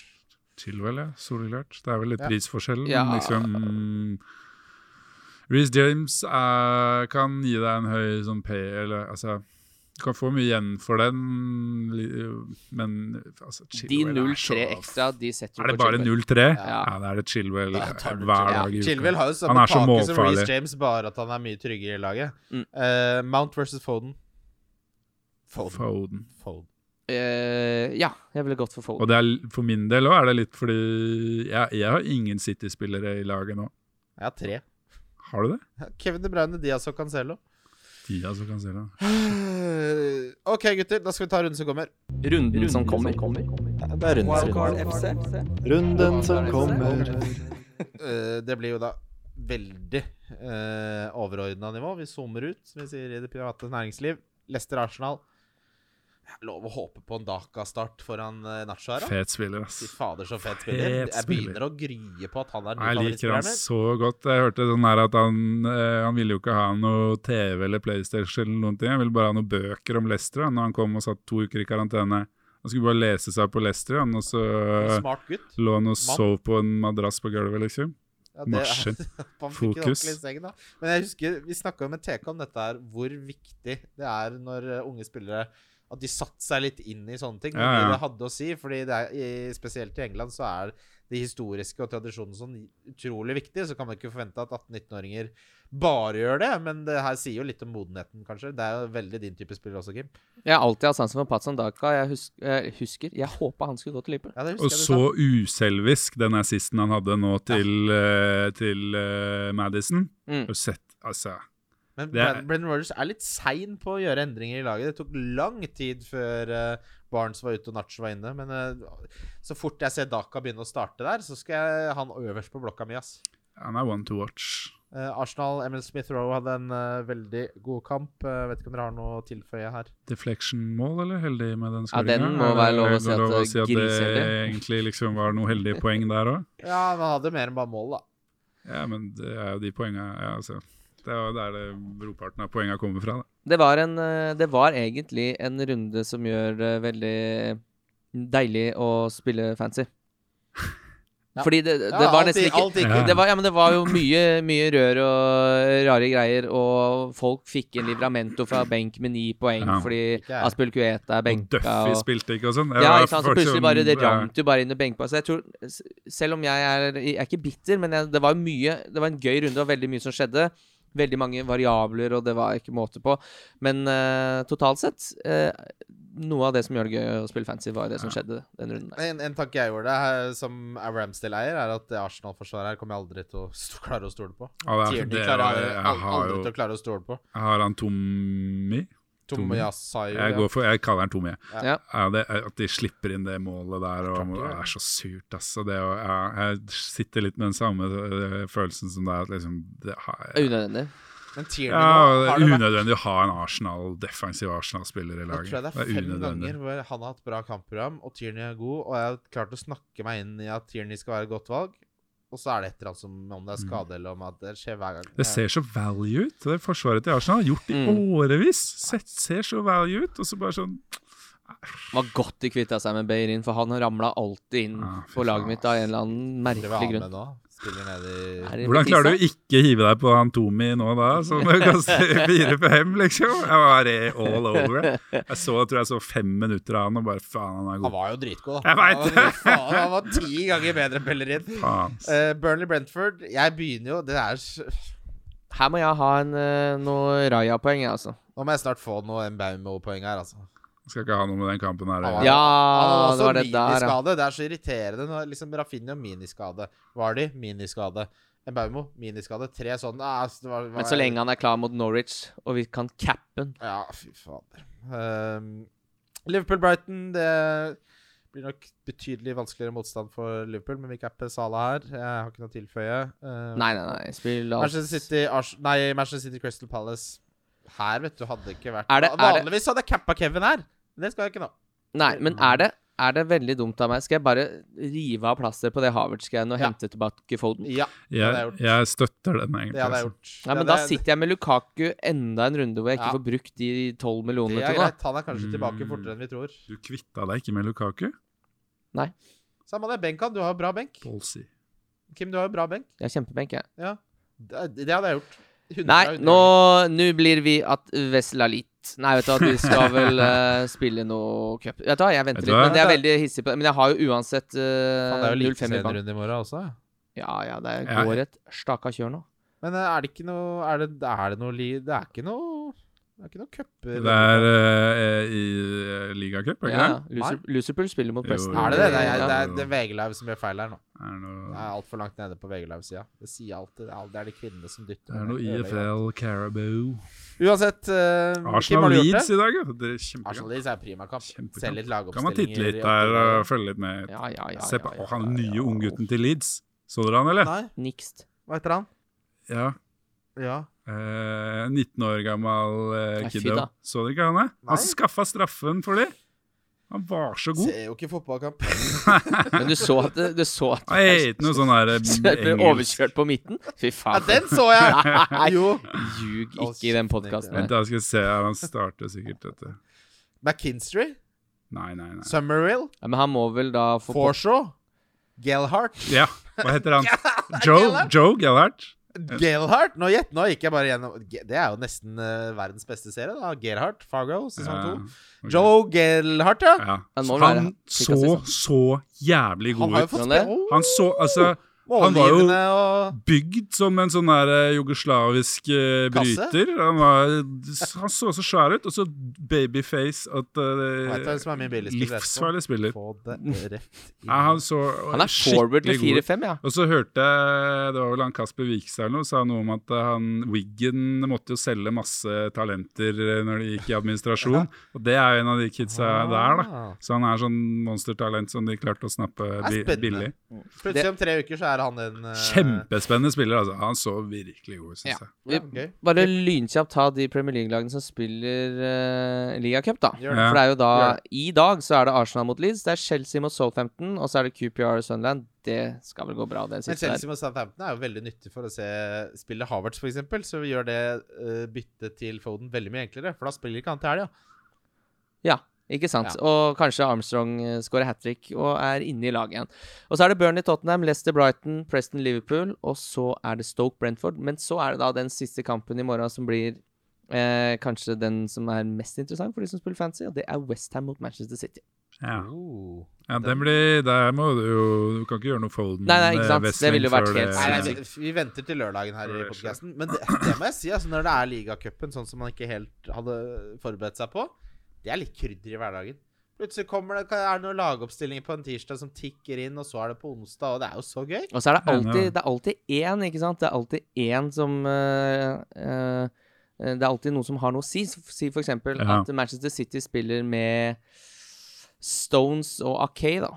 Speaker 4: Chilwell, ja. Soleklart. Det er vel litt
Speaker 2: Ja.
Speaker 4: prisforskjell, men
Speaker 3: Ja.
Speaker 4: liksom Reece James er, kan gi deg en høy sånn P, eller altså Du kan få mye igjen for den, li- men altså,
Speaker 3: De
Speaker 4: Chilwell er
Speaker 3: 0-3
Speaker 4: så-
Speaker 3: ekstra, de setter
Speaker 4: Er
Speaker 3: du
Speaker 4: det
Speaker 3: på
Speaker 4: bare
Speaker 3: Chilwell.
Speaker 4: 0-3?
Speaker 3: Ja.
Speaker 4: Ja. da er det Chilwell
Speaker 2: Ja, tar du
Speaker 4: hver
Speaker 2: Chilwell.
Speaker 4: dag i uka.
Speaker 2: Chilwell har jo
Speaker 4: Han
Speaker 2: samme
Speaker 4: er
Speaker 2: kake
Speaker 4: så
Speaker 2: som
Speaker 4: målfarlig.
Speaker 2: Reece James, bare at han er mye tryggere i laget.
Speaker 3: Mm.
Speaker 2: Eh, Mount versus Foden. Foden.
Speaker 4: Foden.
Speaker 2: Foden.
Speaker 3: Eh, ja, jeg ville gått for Foden.
Speaker 4: Og det er, for min del òg er det litt fordi jeg, jeg har ingen City-spillere i laget nå.
Speaker 2: Jeg har tre.
Speaker 4: Har du det?
Speaker 2: Kevin De Bruyne, Diaz og Cancelo.
Speaker 4: Stia som kan se det.
Speaker 2: OK, gutter. Da skal vi ta runden som kommer.
Speaker 5: Runden som kommer.
Speaker 1: Det er
Speaker 5: Wildcard
Speaker 1: runden
Speaker 5: FC.
Speaker 1: Runden som kommer.
Speaker 2: Eh, det blir jo da veldig uh, overordna nivå. Vi zoomer ut, som vi sier i det private næringsliv. Leicester Arsenal. Det er Lov å håpe på en Daka-start foran uh, Nacho her, da.
Speaker 4: Fet spiller,
Speaker 2: Fy
Speaker 4: ass.
Speaker 2: fader, så fet
Speaker 4: Fet
Speaker 2: spiller. Jeg
Speaker 4: spiller.
Speaker 2: begynner å grye på at han er den
Speaker 4: Jeg
Speaker 2: nye
Speaker 4: liker
Speaker 2: favorittspilleren
Speaker 4: han
Speaker 2: min.
Speaker 4: så godt. Jeg hørte sånn her at han, eh, han ville jo ikke ha noe TV eller PlayStation eller noen ting. Han ville bare ha noen bøker om Leicester han, når han kom og satt to uker i karantene. Han skulle bare lese seg opp på Leicester, han, og så eh,
Speaker 2: Smart gutt.
Speaker 4: lå han og sov på en madrass på gulvet, liksom.
Speaker 2: Ja,
Speaker 4: Marsjer.
Speaker 2: man fikk en
Speaker 4: Fokus.
Speaker 2: ordentlig seng, da. Men jeg husker vi snakka med TK om dette her, hvor viktig det er når eh, unge spillere at de satte seg litt inn i sånne ting.
Speaker 4: Ja, ja.
Speaker 2: Det de hadde å si, fordi det er, i, spesielt i England så er det historiske og tradisjonen sånn utrolig viktig. Så kan man ikke forvente at 18-19-åringer bare gjør det. Men det her sier jo litt om modenheten, kanskje. Det er jo veldig din type spiller også, Kim.
Speaker 3: Jeg har alltid hatt sansen for Patson Daka. Jeg husker, jeg, husker, jeg håpa han skulle gå til Liverpool.
Speaker 2: Ja, det husker
Speaker 4: Og
Speaker 2: jeg du
Speaker 4: så
Speaker 2: sa.
Speaker 4: uselvisk den assisten han hadde nå til, eh, til eh, Madison.
Speaker 3: Mm.
Speaker 4: Har du sett, altså
Speaker 2: Men
Speaker 4: Det er-
Speaker 2: Brendan- Brendan Rodgers er litt sein på å gjøre endringer i laget. Det tok lang tid før eh, Barnes var ute og Nacho var inne. Men eh, så fort jeg ser Daka begynne å starte der, så skal jeg ha han øverst på blokka mi. ass.
Speaker 4: Han er one to watch.
Speaker 2: Eh, Arsenal, Emil Smith-Roe hadde en eh, veldig god kamp. Eh, vet ikke om dere har noe å tilføye her.
Speaker 4: Deflection-mål, eller heldig med den
Speaker 3: Ja,
Speaker 4: skåringa?
Speaker 3: den må være lov å si at det
Speaker 4: det
Speaker 3: griseheldig.
Speaker 4: egentlig liksom var noe heldige poeng der òg.
Speaker 2: Ja, men han hadde mer enn bare mål, da.
Speaker 4: Ja, men det er jo de poenga ja, altså. Det er jo der det brorparten av poenga kommer fra. Da.
Speaker 3: Det var, en, eh, det var egentlig en runde som gjør det veldig deilig å spille fancy.
Speaker 2: Ja.
Speaker 3: Fordi det, det
Speaker 2: Ja,
Speaker 3: var
Speaker 2: alt
Speaker 3: nesten
Speaker 2: i-
Speaker 3: ikke
Speaker 2: alt gikk
Speaker 4: Ja.
Speaker 3: det var, ja, men det var jo mye, mye rør og rare greier, og folk fikk en livramento fra benk med ni poeng
Speaker 4: Ja.
Speaker 3: fordi
Speaker 2: jeg.
Speaker 3: Aspel Kueta er
Speaker 4: Og
Speaker 3: benka.
Speaker 4: Duffy spilte ikke og sånn. Det
Speaker 3: Ja,
Speaker 4: var
Speaker 3: ikke sant? Så
Speaker 4: folk
Speaker 3: plutselig
Speaker 4: som-
Speaker 3: bare Det
Speaker 4: ja.
Speaker 3: rant jo bare inn og benka. Så jeg tror, s- selv om jeg er, jeg er ikke bitter, men jeg, det var mye Det var en gøy runde, og veldig mye som skjedde. Veldig mange variabler, og det var ikke måte på. Men eh, totalt sett eh, Noe av det som gjør det gøy å spille fancy, var det som skjedde den runden der.
Speaker 2: En, en tanke jeg gjorde eh, som er Ramsdale-eier, er at det Arsenal-forsvaret her kommer jeg aldri til å st klare å stole på.
Speaker 4: Ja, det er-
Speaker 2: Tierney
Speaker 4: det
Speaker 2: klarer
Speaker 4: er-
Speaker 2: jeg
Speaker 4: jeg
Speaker 2: al-
Speaker 4: har
Speaker 2: aldri
Speaker 4: jo-
Speaker 2: til å klare å stole på.
Speaker 4: Har han Tommy? Tommy.
Speaker 2: Tomiyasayo,
Speaker 4: Jeg,
Speaker 2: ja.
Speaker 4: går for, jeg kaller han Tommy. jeg.
Speaker 3: Ja.
Speaker 4: Ja, det, at de slipper inn det målet der, og det er så surt, altså. Det, å- ja, jeg sitter litt med den samme øh, følelsen som deg, at liksom det har jeg
Speaker 3: Unødvendig.
Speaker 2: Men Tierney
Speaker 4: ja,
Speaker 2: nå, har
Speaker 4: det
Speaker 2: det
Speaker 4: er
Speaker 2: vært
Speaker 4: unødvendig å ha en Arsenal, defensiv Arsenal-spiller i
Speaker 2: Nå tror jeg
Speaker 4: laget.
Speaker 2: det er fem ganger hvor han har hatt bra kampprogram, og Tierney er god, og jeg har klart å snakke meg inn i at Tierney skal være et godt valg, og så er det et eller annet som om det er skade, eller om at det skjer hver gang.
Speaker 4: Mm. Det ser så value ut. Det er forsvaret til Arsenal har gjort i
Speaker 3: Mm.
Speaker 4: årevis. Sett, ser så value ut, og så bare sånn
Speaker 3: Var godt de kvitta seg med Beirin, for han ramla alltid inn
Speaker 4: Ja, Ah, fy
Speaker 3: på laget
Speaker 4: faen,
Speaker 3: mitt av en eller annen
Speaker 2: Det vil
Speaker 3: merkelig
Speaker 2: han
Speaker 3: grunn.
Speaker 2: med nå. Spiller ned i
Speaker 3: Er det
Speaker 4: Hvordan klarer du
Speaker 3: Matisse?
Speaker 4: å ikke hive deg på han Tomi nå da, som kaster fire-fem, liksom? Jeg var eh, all over. Jeg så, tror jeg så fem minutter av han, og bare faen, han er
Speaker 2: Han
Speaker 4: god.
Speaker 2: var jo dritgod, da.
Speaker 4: Jeg vet
Speaker 2: Han var- faen, Han var ti ganger bedre enn Bellerin.
Speaker 4: Faen.
Speaker 2: Eh, Burnley Brentford, jeg begynner jo Det er s-
Speaker 3: Her må jeg ha en, eh, noe Raja-poeng, jeg, altså.
Speaker 2: Nå må jeg snart få noe Mbaumo-poeng her, altså.
Speaker 4: Skal ikke ha noe med den kampen her å
Speaker 2: Han var-
Speaker 4: gjøre.
Speaker 3: Ja,
Speaker 2: Han
Speaker 3: det var
Speaker 2: hadde
Speaker 3: det
Speaker 2: også
Speaker 3: der, ja.
Speaker 2: miniskade. Det er så irriterende. Når liksom Rafinha miniskade. Vardy miniskade. Embaumo miniskade. Tre sånne ah, altså, det var, var,
Speaker 3: Men så lenge han er klar mot Norwich, og vi kan cappe den
Speaker 2: Ja, fy fader. Ehm, Liverpool-Brighton, det blir nok betydelig vanskeligere motstand for Liverpool, men vi capper Sala her. Jeg har ikke noe å tilføye. Ehm,
Speaker 3: Nei, nei, nei. Spill alt.
Speaker 2: Manchester City, Ars nei, Manchester City Crystal Palace. Her, vet du, hadde det ikke vært
Speaker 3: Er det- er det-
Speaker 2: Vanligvis hadde jeg cappa Kevin her. Det skal jeg ikke nå.
Speaker 3: Nei, men er det, er det veldig dumt av meg? Skal jeg bare rive av plaster på det Havertz-greiene og
Speaker 2: Ja.
Speaker 3: hente tilbake Folden?
Speaker 2: Ja, hadde jeg
Speaker 4: Jeg,
Speaker 2: gjort.
Speaker 4: jeg støtter den, egentlig.
Speaker 2: det hadde jeg
Speaker 4: altså.
Speaker 2: gjort.
Speaker 3: Nei, men
Speaker 2: Det
Speaker 3: Da
Speaker 2: hadde-
Speaker 3: sitter jeg med Lukaku enda en runde hvor jeg ikke
Speaker 2: Ja.
Speaker 3: får brukt de tolv
Speaker 2: Det
Speaker 3: millionene
Speaker 2: er
Speaker 3: til nå.
Speaker 2: greit. Han er kanskje tilbake
Speaker 4: Mm.
Speaker 2: fortere enn vi tror.
Speaker 4: Du kvitta deg ikke med Lukaku?
Speaker 2: Samme det. Benkan, du har jo bra benk.
Speaker 4: Bolsi.
Speaker 2: Kim, du har jo bra benk.
Speaker 3: Jeg er kjempebenk, jeg.
Speaker 2: Ja. Det, det hadde jeg gjort. 100
Speaker 3: Nei,
Speaker 2: av 100.
Speaker 3: nå, nå blir vi at Vesla litt. Nei, vet du at vi skal vel eh, spille noe cup. Vet du hva, jeg
Speaker 4: Vet
Speaker 3: venter
Speaker 4: du
Speaker 3: litt.
Speaker 4: hva?
Speaker 3: Men jeg er veldig hissig på det. Men jeg har jo uansett
Speaker 2: Faen, det
Speaker 3: uh,
Speaker 2: er
Speaker 3: 0-5 i bank.
Speaker 2: jo eliteserierunde i morgen også.
Speaker 3: Ja, ja, det
Speaker 4: Ja.
Speaker 3: går et staka kjør nå.
Speaker 2: Men eh, er det ikke noe Er det, er det noe li... Det er ikke noe Det er ikke noen cuper.
Speaker 4: Det er eh, i eh, ligacup, er det ikke
Speaker 3: Ja, Lucer- Lucerpool spiller mot
Speaker 4: Jo,
Speaker 3: Preston.
Speaker 4: jo,
Speaker 2: Er det det? Det er,
Speaker 3: Ja.
Speaker 2: det er, det er VG-live som gjør feil her nå.
Speaker 4: det? Er
Speaker 2: Det
Speaker 4: noe,
Speaker 2: er altfor langt nede på VG-live-sida. Det sier alltid det er- Det er de kvinnene som dytter.
Speaker 4: det
Speaker 2: meg
Speaker 4: er noe
Speaker 2: ned.
Speaker 4: IFL Carabao.
Speaker 2: Uansett, eh, Kim, har
Speaker 4: Arsenal
Speaker 2: du gjort
Speaker 4: Leeds
Speaker 2: det?
Speaker 4: i dag, ja. Det er
Speaker 2: Arsenal
Speaker 4: kjempegøy.
Speaker 2: Leeds er primakamp.
Speaker 4: Kjempekamp.
Speaker 2: Se litt
Speaker 4: Kan man
Speaker 2: lagoppstillinger.
Speaker 4: titte litt
Speaker 2: i
Speaker 4: der
Speaker 2: åttende-
Speaker 4: og følge litt med?
Speaker 3: Ja, ja, ja.
Speaker 4: Se på
Speaker 3: ja, ja,
Speaker 4: å, han
Speaker 3: ja,
Speaker 4: nye
Speaker 3: ja.
Speaker 4: unggutten til Leeds. Så dere han, eller?
Speaker 2: Nei,
Speaker 3: Nikst.
Speaker 2: hva heter han?
Speaker 4: Ja.
Speaker 2: Ja.
Speaker 4: Eh, 19 år gammel eh,
Speaker 3: Nei, fy
Speaker 4: kiddo.
Speaker 3: da.
Speaker 4: Så dere ikke han, da?
Speaker 2: Nei.
Speaker 4: Han skaffa straffen for dem. Han var så god.
Speaker 2: Ser jo ikke fotballkamp.
Speaker 3: Men du så at det, du så at
Speaker 4: Han er ikke noe sånn her eh,
Speaker 3: Så jeg ble
Speaker 4: engelsk
Speaker 3: overkjørt på midten? Fy
Speaker 2: Ja,
Speaker 3: faen.
Speaker 2: den så jeg! Jo.
Speaker 3: Ljug
Speaker 2: Å,
Speaker 3: ikke i den podkasten
Speaker 4: Vent,
Speaker 3: her.
Speaker 4: da skal vi se. her, Han starter sikkert dette.
Speaker 2: McKinstry,
Speaker 4: Nei, nei, nei.
Speaker 2: Summerhill,
Speaker 3: Ja, men han må vel da få
Speaker 2: Forshaw, Gelhart
Speaker 4: Ja, hva heter han? Joe, Joe Gellert?
Speaker 2: Gelhart? Nå, gjett, nå gikk jeg bare gjennom Ge- Det er jo nesten eh, verdens beste serie, da. Gelhart, Fargo, sesong
Speaker 4: Ja,
Speaker 2: to.
Speaker 4: ok.
Speaker 2: Joe Gelhart, ja.
Speaker 4: Eh, Ja.
Speaker 3: Han må være
Speaker 4: Han
Speaker 3: sikkert
Speaker 4: så så jævlig
Speaker 2: Han
Speaker 4: god
Speaker 2: har jo
Speaker 4: ut.
Speaker 2: fått
Speaker 3: Tror han det?
Speaker 2: spille
Speaker 4: Han så altså han var jo-
Speaker 2: målgivende og
Speaker 4: bygd som en sånn der eh, jugoslavisk eh,
Speaker 2: Kasse?
Speaker 4: bryter. Han, var, han så så svær ut, og så babyface at
Speaker 2: Vet du hvem som
Speaker 4: eh,
Speaker 2: er min billigspiller etterpå?
Speaker 4: Livsfarlig spiller.
Speaker 2: Få det rett inn.
Speaker 4: Ja, han så
Speaker 3: Han er forward til
Speaker 4: skikkelig god
Speaker 3: 4-5,
Speaker 4: ut.
Speaker 3: ja.
Speaker 4: Og så hørte jeg, det var vel han Kasper Wikstad eller noe, sa noe om at eh, han, Wiggen måtte jo selge masse talenter eh, når de gikk i administrasjon. Og det er jo en av de kidsa der, da.
Speaker 2: Ah.
Speaker 4: Så han er sånn monstertalent som de klarte å snappe bi-
Speaker 2: spennende.
Speaker 4: billig.
Speaker 2: Plutselig om tre uker så er han en eh,
Speaker 4: Kjempespennende spiller, altså. Han så virkelig god ut,
Speaker 3: Ja.
Speaker 4: syns
Speaker 2: ja,
Speaker 4: jeg.
Speaker 2: gøy.
Speaker 3: Bare lynkjapt ta de Premier League-lagene som spiller uh, ligacup, da.
Speaker 2: Gjør
Speaker 4: Ja.
Speaker 3: For det er jo da
Speaker 2: Gjør
Speaker 3: I dag så er det Arsenal mot Leeds, det er Chelsea mot Southampton, og så er det QPR og Sunderland. Det skal vel gå bra, det
Speaker 2: Men
Speaker 3: siste der.
Speaker 2: Chelsea mot Southampton er jo veldig nyttig for å se spille Havertz, for eksempel Så vi gjør det eh, byttet til Foden veldig mye enklere, for da spiller ikke han til helga.
Speaker 3: Ja, ikke sant. Og kanskje Armstrong eh, scorer hat trick og er inne i laget igjen. Og så er det Burnley Tottenham, Leicester Brighton, Preston Liverpool, og så er det Stoke Brentford. Men så er det da den siste kampen i morgen som blir eh, kanskje den som er mest interessant for de som spiller fancy, og det er Westham mot Manchester City.
Speaker 4: Ja.
Speaker 2: Oh.
Speaker 4: Ja, det blir, der må du jo Du kan ikke gjøre noe Foden
Speaker 3: Nei, nei, ikke
Speaker 4: eh,
Speaker 3: sant. Det
Speaker 4: wrestling
Speaker 3: ville jo vært
Speaker 4: før
Speaker 3: helt
Speaker 2: Nei, nei,
Speaker 3: sinnssykt.
Speaker 2: det- vi venter til lørdagen her i
Speaker 4: Før det skjer.
Speaker 2: podkasten. Men det, det må jeg si, altså, når det er ligacupen sånn som man ikke helt hadde forberedt seg på, det er litt krydder i hverdagen. Plutselig kommer det, er det noen lagoppstillinger på en tirsdag som tikker inn, og så er det på onsdag, og det er jo så gøy.
Speaker 3: Og så er det
Speaker 4: Enig,
Speaker 3: alltid,
Speaker 4: ja.
Speaker 3: det er alltid én, ikke sant? Det er alltid én som eh, eh, eh, Det er alltid noen som har noe å si. S- Si for eksempel
Speaker 4: Ja.
Speaker 3: at Manchester City spiller med Stones og Akay, da.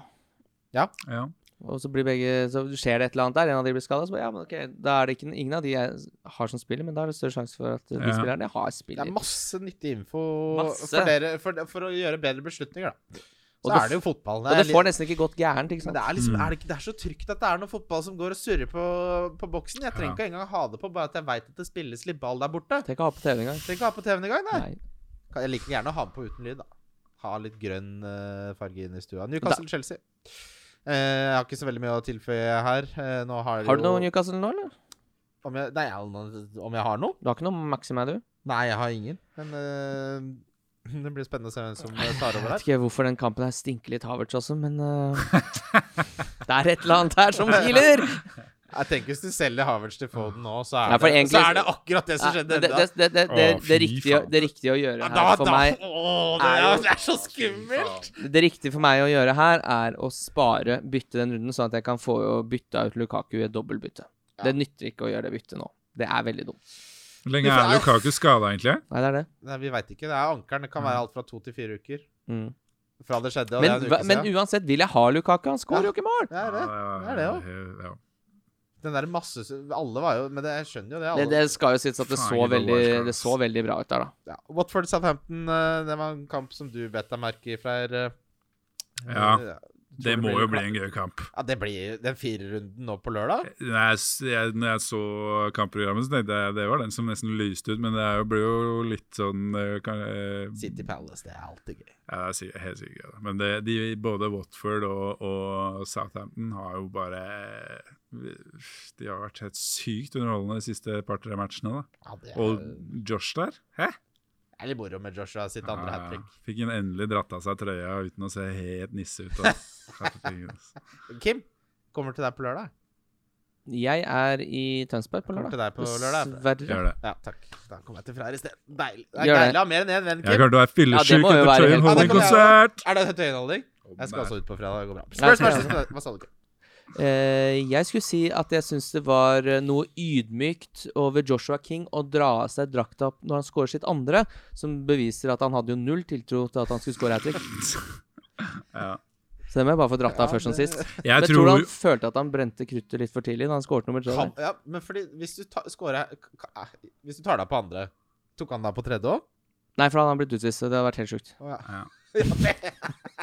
Speaker 4: Ja.
Speaker 3: Og så blir begge Så skjer det et eller annet der, en av de blir skada, så bare, ja, men ok, da er det ikke ingen av de jeg har som spiller, men da er det større sjanse for at de
Speaker 4: Ja.
Speaker 3: spillerne jeg har,
Speaker 2: Det er
Speaker 3: spiller.
Speaker 2: masse nyttig info
Speaker 3: Masse.
Speaker 2: For, dere, for, for å gjøre bedre beslutninger, da. Så
Speaker 3: Og det
Speaker 2: er det jo fotballen.
Speaker 3: Og det
Speaker 2: er
Speaker 3: får
Speaker 2: litt-
Speaker 3: nesten ikke gått gærent, ikke
Speaker 2: men
Speaker 3: sant?
Speaker 2: det er, liksom,
Speaker 4: Mm.
Speaker 2: er det, ikke, det er så trygt at det er noe fotball som går og surrer på, på boksen. Jeg trenger
Speaker 4: Ja.
Speaker 2: ikke engang ha det på, bare at jeg veit at det spilles litt ball der borte.
Speaker 3: Tenk å ha på TV engang.
Speaker 2: Trenger ikke ha på TV-en engang, nei.
Speaker 3: Nei.
Speaker 2: Kan- Jeg liker gjerne å ha den på uten lyd, da. Ha litt grønn eh, farge inn i stua. Newcastle-Chelsea. jeg har ikke så veldig mye å tilføye her. Eh, nå har,
Speaker 3: Har du
Speaker 2: jo-
Speaker 3: noe Newcastle nå, eller?
Speaker 2: Om jeg, nei, jeg har noe- om jeg har noe?
Speaker 3: Du har ikke noe Maxima, du?
Speaker 2: Nei, jeg har ingen. Men eh, det blir spennende å se hvem som eh, tar
Speaker 3: Jeg
Speaker 2: over
Speaker 3: vet
Speaker 2: her.
Speaker 3: ikke hvorfor den kampen her stinker litt Havertz også, men eh, Det er et eller annet her som kiler!
Speaker 2: Jeg tenker Hvis du selger Havertz til Foden nå, så er,
Speaker 3: Nei, for
Speaker 2: det,
Speaker 3: egentlig-
Speaker 2: så er det akkurat det som
Speaker 3: Nei,
Speaker 2: skjedde.
Speaker 3: men Det, det, det, det, det,
Speaker 4: Å,
Speaker 3: det,
Speaker 4: fy
Speaker 3: riktige,
Speaker 4: faen.
Speaker 3: det riktige å gjøre
Speaker 2: da,
Speaker 3: her
Speaker 2: da,
Speaker 3: for meg
Speaker 2: Åh, det,
Speaker 3: er
Speaker 2: er,
Speaker 3: jo-
Speaker 2: det er så skummelt!
Speaker 3: Det riktige for meg å gjøre her er å spare, bytte den runden, sånn at jeg kan få bytta ut Lukaku i et dobbeltbytte. Det nytter ikke å gjøre det byttet nå. Det er veldig dumt.
Speaker 4: Hvor lenge er Lukaku skada, egentlig?
Speaker 3: Nei, det er det.
Speaker 2: Nei, vi veit ikke. Det er ankeren. Det kan være alt fra to til fire uker.
Speaker 3: Mm.
Speaker 2: Fra det skjedde, og
Speaker 3: Men,
Speaker 2: det er
Speaker 3: hva-
Speaker 2: en uke
Speaker 3: men
Speaker 2: siden.
Speaker 3: uansett vil jeg ha Lukaku. Han
Speaker 2: Ja.
Speaker 3: skårer jo ikke mål!
Speaker 2: Det er det. Det er det også.
Speaker 4: Ja.
Speaker 2: Den der masse Alle var jo Men det, jeg skjønner jo det.
Speaker 3: Det,
Speaker 2: Alle.
Speaker 3: det skal jo sies at det så,
Speaker 4: Faen, ikke noe
Speaker 3: veldig,
Speaker 4: Wildcards.
Speaker 3: det så veldig bra ut der, da.
Speaker 2: Ja. Watford Southampton, eh, det var en kamp som du bet deg merke i, Freyr. eh.
Speaker 4: Ja,
Speaker 2: Eh,
Speaker 4: Det
Speaker 2: tror
Speaker 4: må
Speaker 2: blir
Speaker 4: jo
Speaker 2: en
Speaker 4: bli
Speaker 2: kamp.
Speaker 4: en gøy kamp.
Speaker 2: Ja, det blir den firerunden nå på lørdag.
Speaker 4: Når jeg, s- jeg, når jeg så kampprogrammet, så tenkte jeg det var den som nesten lyste ut, men det er jo, blir jo litt sånn eh, kan, eh,
Speaker 2: City Palace, det er alltid gøy.
Speaker 4: Ja, det er sikkert, helt sikkert gøy. da. Men det, de, både Watford og, og Southampton har jo bare eh, De har vært helt sykt underholdende de siste par-tre matchene. da.
Speaker 2: Ja, det
Speaker 4: Og
Speaker 2: er,
Speaker 4: Josh der Hæ?
Speaker 2: det er litt moro med Joshua sitt andre hat
Speaker 4: Ja,
Speaker 2: trick.
Speaker 4: fikk en endelig dratt av seg trøya uten å se helt nisse ut. ass. Skjerpe ting, ass.
Speaker 2: Kim, kommer til deg på lørdag.
Speaker 3: Jeg er i Tønsberg på
Speaker 2: Kommer
Speaker 3: lørdag.
Speaker 2: til deg på lørdag.
Speaker 3: Dessverre.
Speaker 4: Gjør det.
Speaker 2: Ja, takk. Da kommer jeg til Freyr sted Deilig. Det er
Speaker 3: Gjør det.
Speaker 2: deilig å ha mer enn én venn,
Speaker 4: Jeg
Speaker 2: Kim.
Speaker 4: kommer til å være fyllesyk
Speaker 3: må jo
Speaker 4: etter
Speaker 3: være
Speaker 4: Tøyen
Speaker 3: helt-
Speaker 4: Holmen-konsert!
Speaker 2: Er det høytøyenholdning? Jeg skal
Speaker 4: Nei.
Speaker 2: også ut på fredag. Det går bra.
Speaker 3: Ja,
Speaker 2: Spørs, spørs,
Speaker 3: ja.
Speaker 2: spørs. Hva sa du? Kim?
Speaker 3: Eh, jeg skulle si at jeg syns det var eh, noe ydmykt over Joshua King å dra av seg drakta opp når han scorer sitt andre, som beviser at han hadde jo null tiltro til at han skulle score hat trick.
Speaker 4: Ja.
Speaker 3: Så det må jeg bare få dratt av først som sist. Men
Speaker 4: Jeg
Speaker 3: jeg tror du
Speaker 4: tror
Speaker 3: han følte at han brente kruttet litt for tidlig da han skåret nummer tre?
Speaker 2: Kan,
Speaker 3: der?
Speaker 2: ja, men fordi hvis du, ta, scorer, eh, hvis du tar deg på andre, tok han deg på tredje òg?
Speaker 3: Nei, for han har blitt utvist. så Det hadde vært helt sjukt.
Speaker 2: Ja.
Speaker 4: Ja.
Speaker 2: men-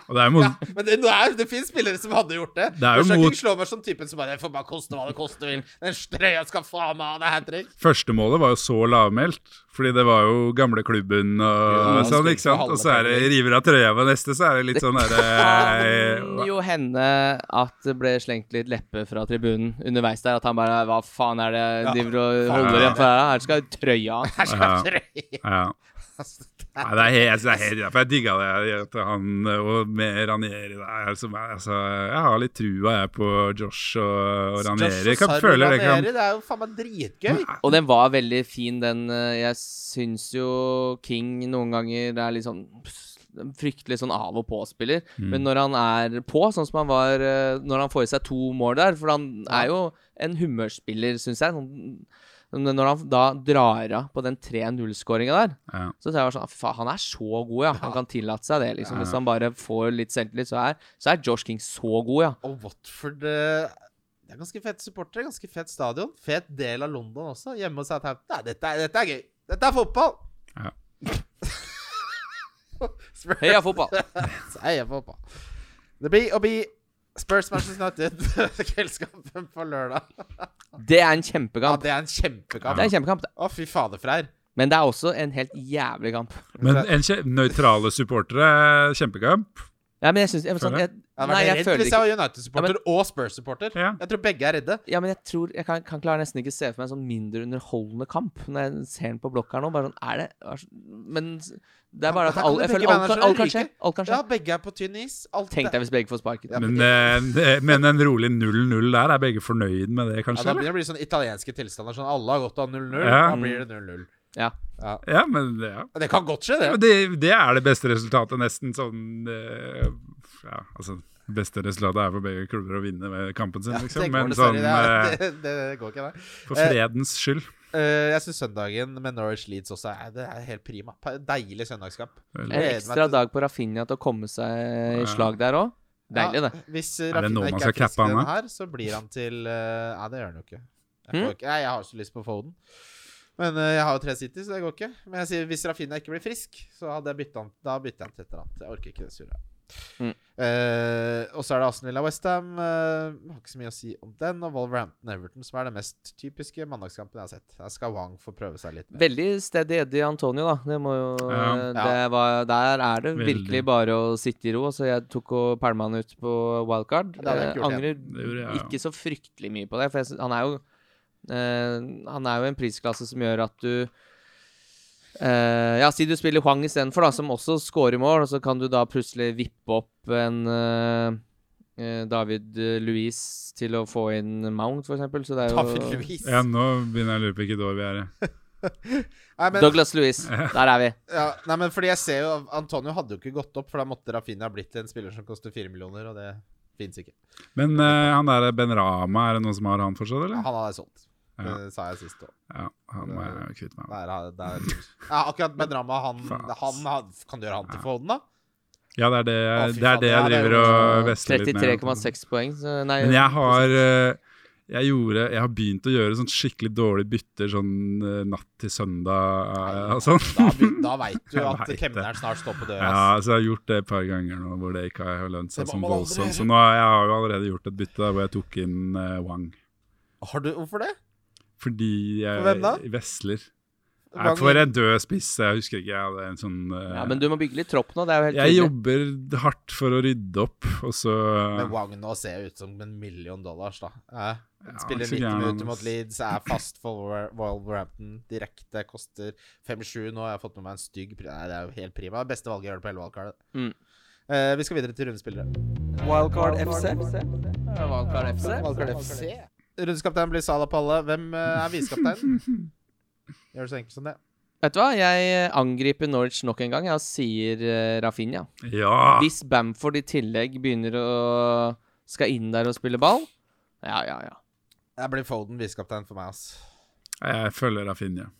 Speaker 4: Og det er mot,
Speaker 2: ja, men det, det, er, det finnes spillere som hadde gjort det.
Speaker 4: Det er jo
Speaker 2: Joshua
Speaker 4: mot-
Speaker 2: King slår meg som typen som bare får bare koste hva det koste vil. Den strøya skal faen meg ha det hat trick.
Speaker 4: Første målet var jo så lavmælt, fordi det var jo gamleklubben og
Speaker 2: Ja,
Speaker 4: sånn,
Speaker 2: skulle
Speaker 4: ikke sant?
Speaker 2: ikke
Speaker 4: Og så er det river av trøya på neste, så er det litt sånn eh,
Speaker 3: Kan
Speaker 4: derre
Speaker 3: jo hende at det ble slengt litt leppe fra tribunen underveis der. At han bare Hva faen er det
Speaker 2: Ja,
Speaker 3: driver og
Speaker 2: faen
Speaker 3: holder
Speaker 4: er
Speaker 3: igjen for her? da? Her skal trøya av.
Speaker 2: Her
Speaker 4: Ja.
Speaker 2: skal trøya
Speaker 4: ja. Nei, det er helt, altså, det er helt For jeg digga det at han og med Ranieri der som er, altså, Jeg har litt trua, jeg, på Josh og, og Ranieri. Jeg kan, føler det kan
Speaker 2: Ranieri, det er jo faen meg dritgøy.
Speaker 3: Og den var veldig fin, den. eh, Jeg syns jo King noen ganger er litt sånn pss, Fryktelig sånn av og på-spiller. Men når han er på, sånn som han var eh, når han får i seg to mål der For han er jo en humørspiller, syns jeg. Sånn, men når han da drar av på den 3-0-skåringa der,
Speaker 4: ja.
Speaker 3: så ser jeg bare sånn Faen, han er så god, ja. Han kan tillate seg det, liksom. Hvis han bare får litt selvtillit, så er, så er Josh King så god, ja.
Speaker 2: Og Watford eh, Det er ganske fett supportere, ganske fett stadion. Fet del av London også. Hjemme hos Southampton. Nei, dette, er- dette er gøy. Dette er fotball!
Speaker 4: Ja.
Speaker 2: Spurs.
Speaker 3: Heia fotball!
Speaker 2: Heia fotball. Det blir å bli Spurs Manchester United kveldskampen på lørdag.
Speaker 3: Det er en
Speaker 2: Ja,
Speaker 3: kjempekamp.
Speaker 2: det er en
Speaker 3: Det er
Speaker 2: kjempekamp.
Speaker 3: en kjempekamp.
Speaker 2: Å, fy fader, Freyr.
Speaker 3: Men det er også en helt jævlig kamp.
Speaker 4: Men eh, en kje, nøytrale supportere, kjempekamp.
Speaker 3: Ja, men jeg syns jeg, sånn,
Speaker 4: Føler
Speaker 3: jeg,
Speaker 2: Jeg hadde
Speaker 3: Nei,
Speaker 2: vært
Speaker 3: jeg
Speaker 2: redd
Speaker 3: føler
Speaker 2: hvis jeg
Speaker 3: ikke
Speaker 2: var United-supporter og Spurs-supporter.
Speaker 4: Ja.
Speaker 2: Jeg tror begge er redde.
Speaker 3: Ja, men jeg tror Jeg kan, kan klare nesten ikke se for meg en sånn mindre underholdende kamp når jeg ser den på blokk her nå. Bare sånn Er det er så- Men det er bare at
Speaker 2: Her kan
Speaker 3: alle,
Speaker 2: jo
Speaker 3: jeg
Speaker 2: begge
Speaker 3: føler alt, kan-
Speaker 2: managerne
Speaker 3: alt kan skje.
Speaker 2: ryke.
Speaker 3: Alt kan
Speaker 2: Ja,
Speaker 3: skje.
Speaker 2: begge er på tynn is. Alt
Speaker 3: Tenk deg hvis begge får sparken.
Speaker 2: Ja,
Speaker 4: Men, eh, men en rolig 0-0 der, er begge fornøyd med det,
Speaker 2: Ja,
Speaker 4: kanskje?
Speaker 2: da
Speaker 4: eller?
Speaker 2: blir det blir sånn italienske tilstander. Sånn alle har godt av 0-0.
Speaker 4: Ja.
Speaker 2: Da blir det 0-0.
Speaker 3: Ja.
Speaker 4: Ja, men ja.
Speaker 2: Og Det kan godt skje, det.
Speaker 4: Ja, men det, det er det beste resultatet, nesten sånn eh, Ja, altså Beste resultatet er for begge klubber å vinne med kampen sin,
Speaker 2: Ja, det
Speaker 4: liksom.
Speaker 2: går
Speaker 4: Men
Speaker 2: dessverre,
Speaker 4: sånn eh,
Speaker 2: det, er- det, det går ikke, nei.
Speaker 4: for fredens skyld.
Speaker 2: Eh, jeg syns søndagen med Norwich Leeds også er, det er helt prima. Pa- Deilig søndagskamp.
Speaker 4: Vel.
Speaker 3: En
Speaker 2: Gleder meg
Speaker 3: ekstra
Speaker 2: til-
Speaker 3: dag på Rafinha til å komme seg i slag der òg. Deilig,
Speaker 2: Ja,
Speaker 3: det.
Speaker 2: Hvis
Speaker 4: Er det
Speaker 2: Rafinha
Speaker 4: nå man
Speaker 2: ikke
Speaker 4: skal
Speaker 2: er frisk
Speaker 4: cappe
Speaker 2: i
Speaker 4: han,
Speaker 2: denne
Speaker 4: da?
Speaker 2: her, så blir han til eh, Nei, det gjør han jo ikke. Jeg,
Speaker 3: Hm?
Speaker 2: får ikke. Nei, jeg har så lyst på Foden. Men eh, jeg har jo tre City, så det går ikke. Men jeg sier hvis Rafinha ikke blir frisk, så hadde jeg byttet han, da bytter jeg han til et eller annet. Jeg orker ikke det surret.
Speaker 3: Mm.
Speaker 2: Eh, og så er det Aston Villa Westham. Uh, har ikke så mye å si om den. Og Wolverhampton Everton, som er den mest typiske mandagskampen jeg har sett. Der skal Wang få prøve seg litt. mer.
Speaker 3: Veldig steady Eddie Antonio, da. Det må jo
Speaker 4: Ja.
Speaker 3: det var, Der er det
Speaker 4: Veldig.
Speaker 3: virkelig bare å sitte i ro. Så jeg tok og pælma han ut på wildcard.
Speaker 2: Det hadde jeg ikke
Speaker 3: Eh,
Speaker 2: gjort,
Speaker 3: Angrer
Speaker 4: Det gjorde jeg, ja.
Speaker 3: ikke så fryktelig mye på det. For jeg, sy- han er jo eh, Han er jo en prisklasse som gjør at du eh, ja, Si du spiller Huang istedenfor, da, som også scorer mål, og så kan du da plutselig vippe opp en eh, eh, David Louis til å få inn Mount, for eksempel. Så det er jo
Speaker 2: David Luiz.
Speaker 4: Ja, nå begynner jeg å lure på hvilket år vi er i.
Speaker 2: Nei, men,
Speaker 3: Douglas Louis. Der er vi.
Speaker 2: ja, nei, men fordi jeg ser jo Antonio hadde jo ikke gått opp, for da måtte Rafinha blitt en spiller som koster fire millioner, og det fins ikke.
Speaker 4: Men eh, han der Ben Rama, er det noen som har han fortsatt, eller?
Speaker 2: Han hadde jeg solgt. Det
Speaker 4: Ja.
Speaker 2: sa jeg sist òg.
Speaker 4: Ja, han må jeg kvitte meg med.
Speaker 2: Der, er- der. Ja, akkurat med drama han,
Speaker 4: Faen.
Speaker 2: han, han Kan du gjøre han til Foden, da?
Speaker 4: Ja, det er det,
Speaker 2: Å, fy
Speaker 4: det, er
Speaker 2: faen,
Speaker 4: det
Speaker 2: ja, det er
Speaker 4: jeg driver
Speaker 2: jo
Speaker 4: og vesler litt med.
Speaker 3: 33,6 poeng. Så nei,
Speaker 4: Men jeg har eh, jeg, gjorde, jeg har begynt å gjøre sånn skikkelig dårlige bytter sånn eh, natt til søndag eh, og sånn.
Speaker 2: Da, be- da veit du
Speaker 4: Jeg
Speaker 2: at
Speaker 4: vet det.
Speaker 2: kemneren snart står på døra. ass.
Speaker 4: Ja, så jeg har gjort det et par ganger nå hvor det ikke har lønt seg
Speaker 2: eh, Det må
Speaker 4: sånn
Speaker 2: man aldri
Speaker 4: voldsomt.
Speaker 2: gjøre.
Speaker 4: Så nå har jeg har jo allerede gjort et bytte der hvor jeg tok inn eh, Wang.
Speaker 2: Har du, hvorfor det?
Speaker 4: Fordi jeg
Speaker 2: For hvem da?
Speaker 4: vesler. Nei,
Speaker 2: Wang-
Speaker 4: for en død spiss. Jeg husker ikke, jeg hadde en sånn eh,
Speaker 3: ja, Men du må bygge litt tropp nå. Det er jo helt
Speaker 4: Jeg
Speaker 3: tydelig.
Speaker 4: jobber hardt for å rydde opp, og så
Speaker 2: Men Wang nå ser ut som en million dollars, da. Eh,
Speaker 4: Ja,
Speaker 2: spiller
Speaker 4: så
Speaker 2: 90
Speaker 4: gjerne,
Speaker 2: minutter
Speaker 4: ass.
Speaker 2: mot Leeds, er fast for Wolver- Wolverhampton direkte, koster 5-7 nå. Jeg har fått med meg en stygg pri- Nei, det er jo helt prima. Beste valget jeg gjør på hele valgkartet.
Speaker 3: Mm.
Speaker 2: Eh, vi skal videre til rundespillere.
Speaker 3: Wildcard FC. Wildcard FC.
Speaker 2: Valgkart FC. Rundeskapt blir Salah på alle. Hvem eh, er visekapteinen? Gjør det så enkelt som det.
Speaker 3: Vet du hva, jeg eh, angriper Norwich nok en gang. Jeg sier eh, Rafinha.
Speaker 4: Ja!
Speaker 3: Hvis Bamford i tillegg begynner å skal inn der og spille ball Ja, ja, ja.
Speaker 2: Det blir Foden visekaptein for meg, ass.
Speaker 4: Jeg følger Rafinha.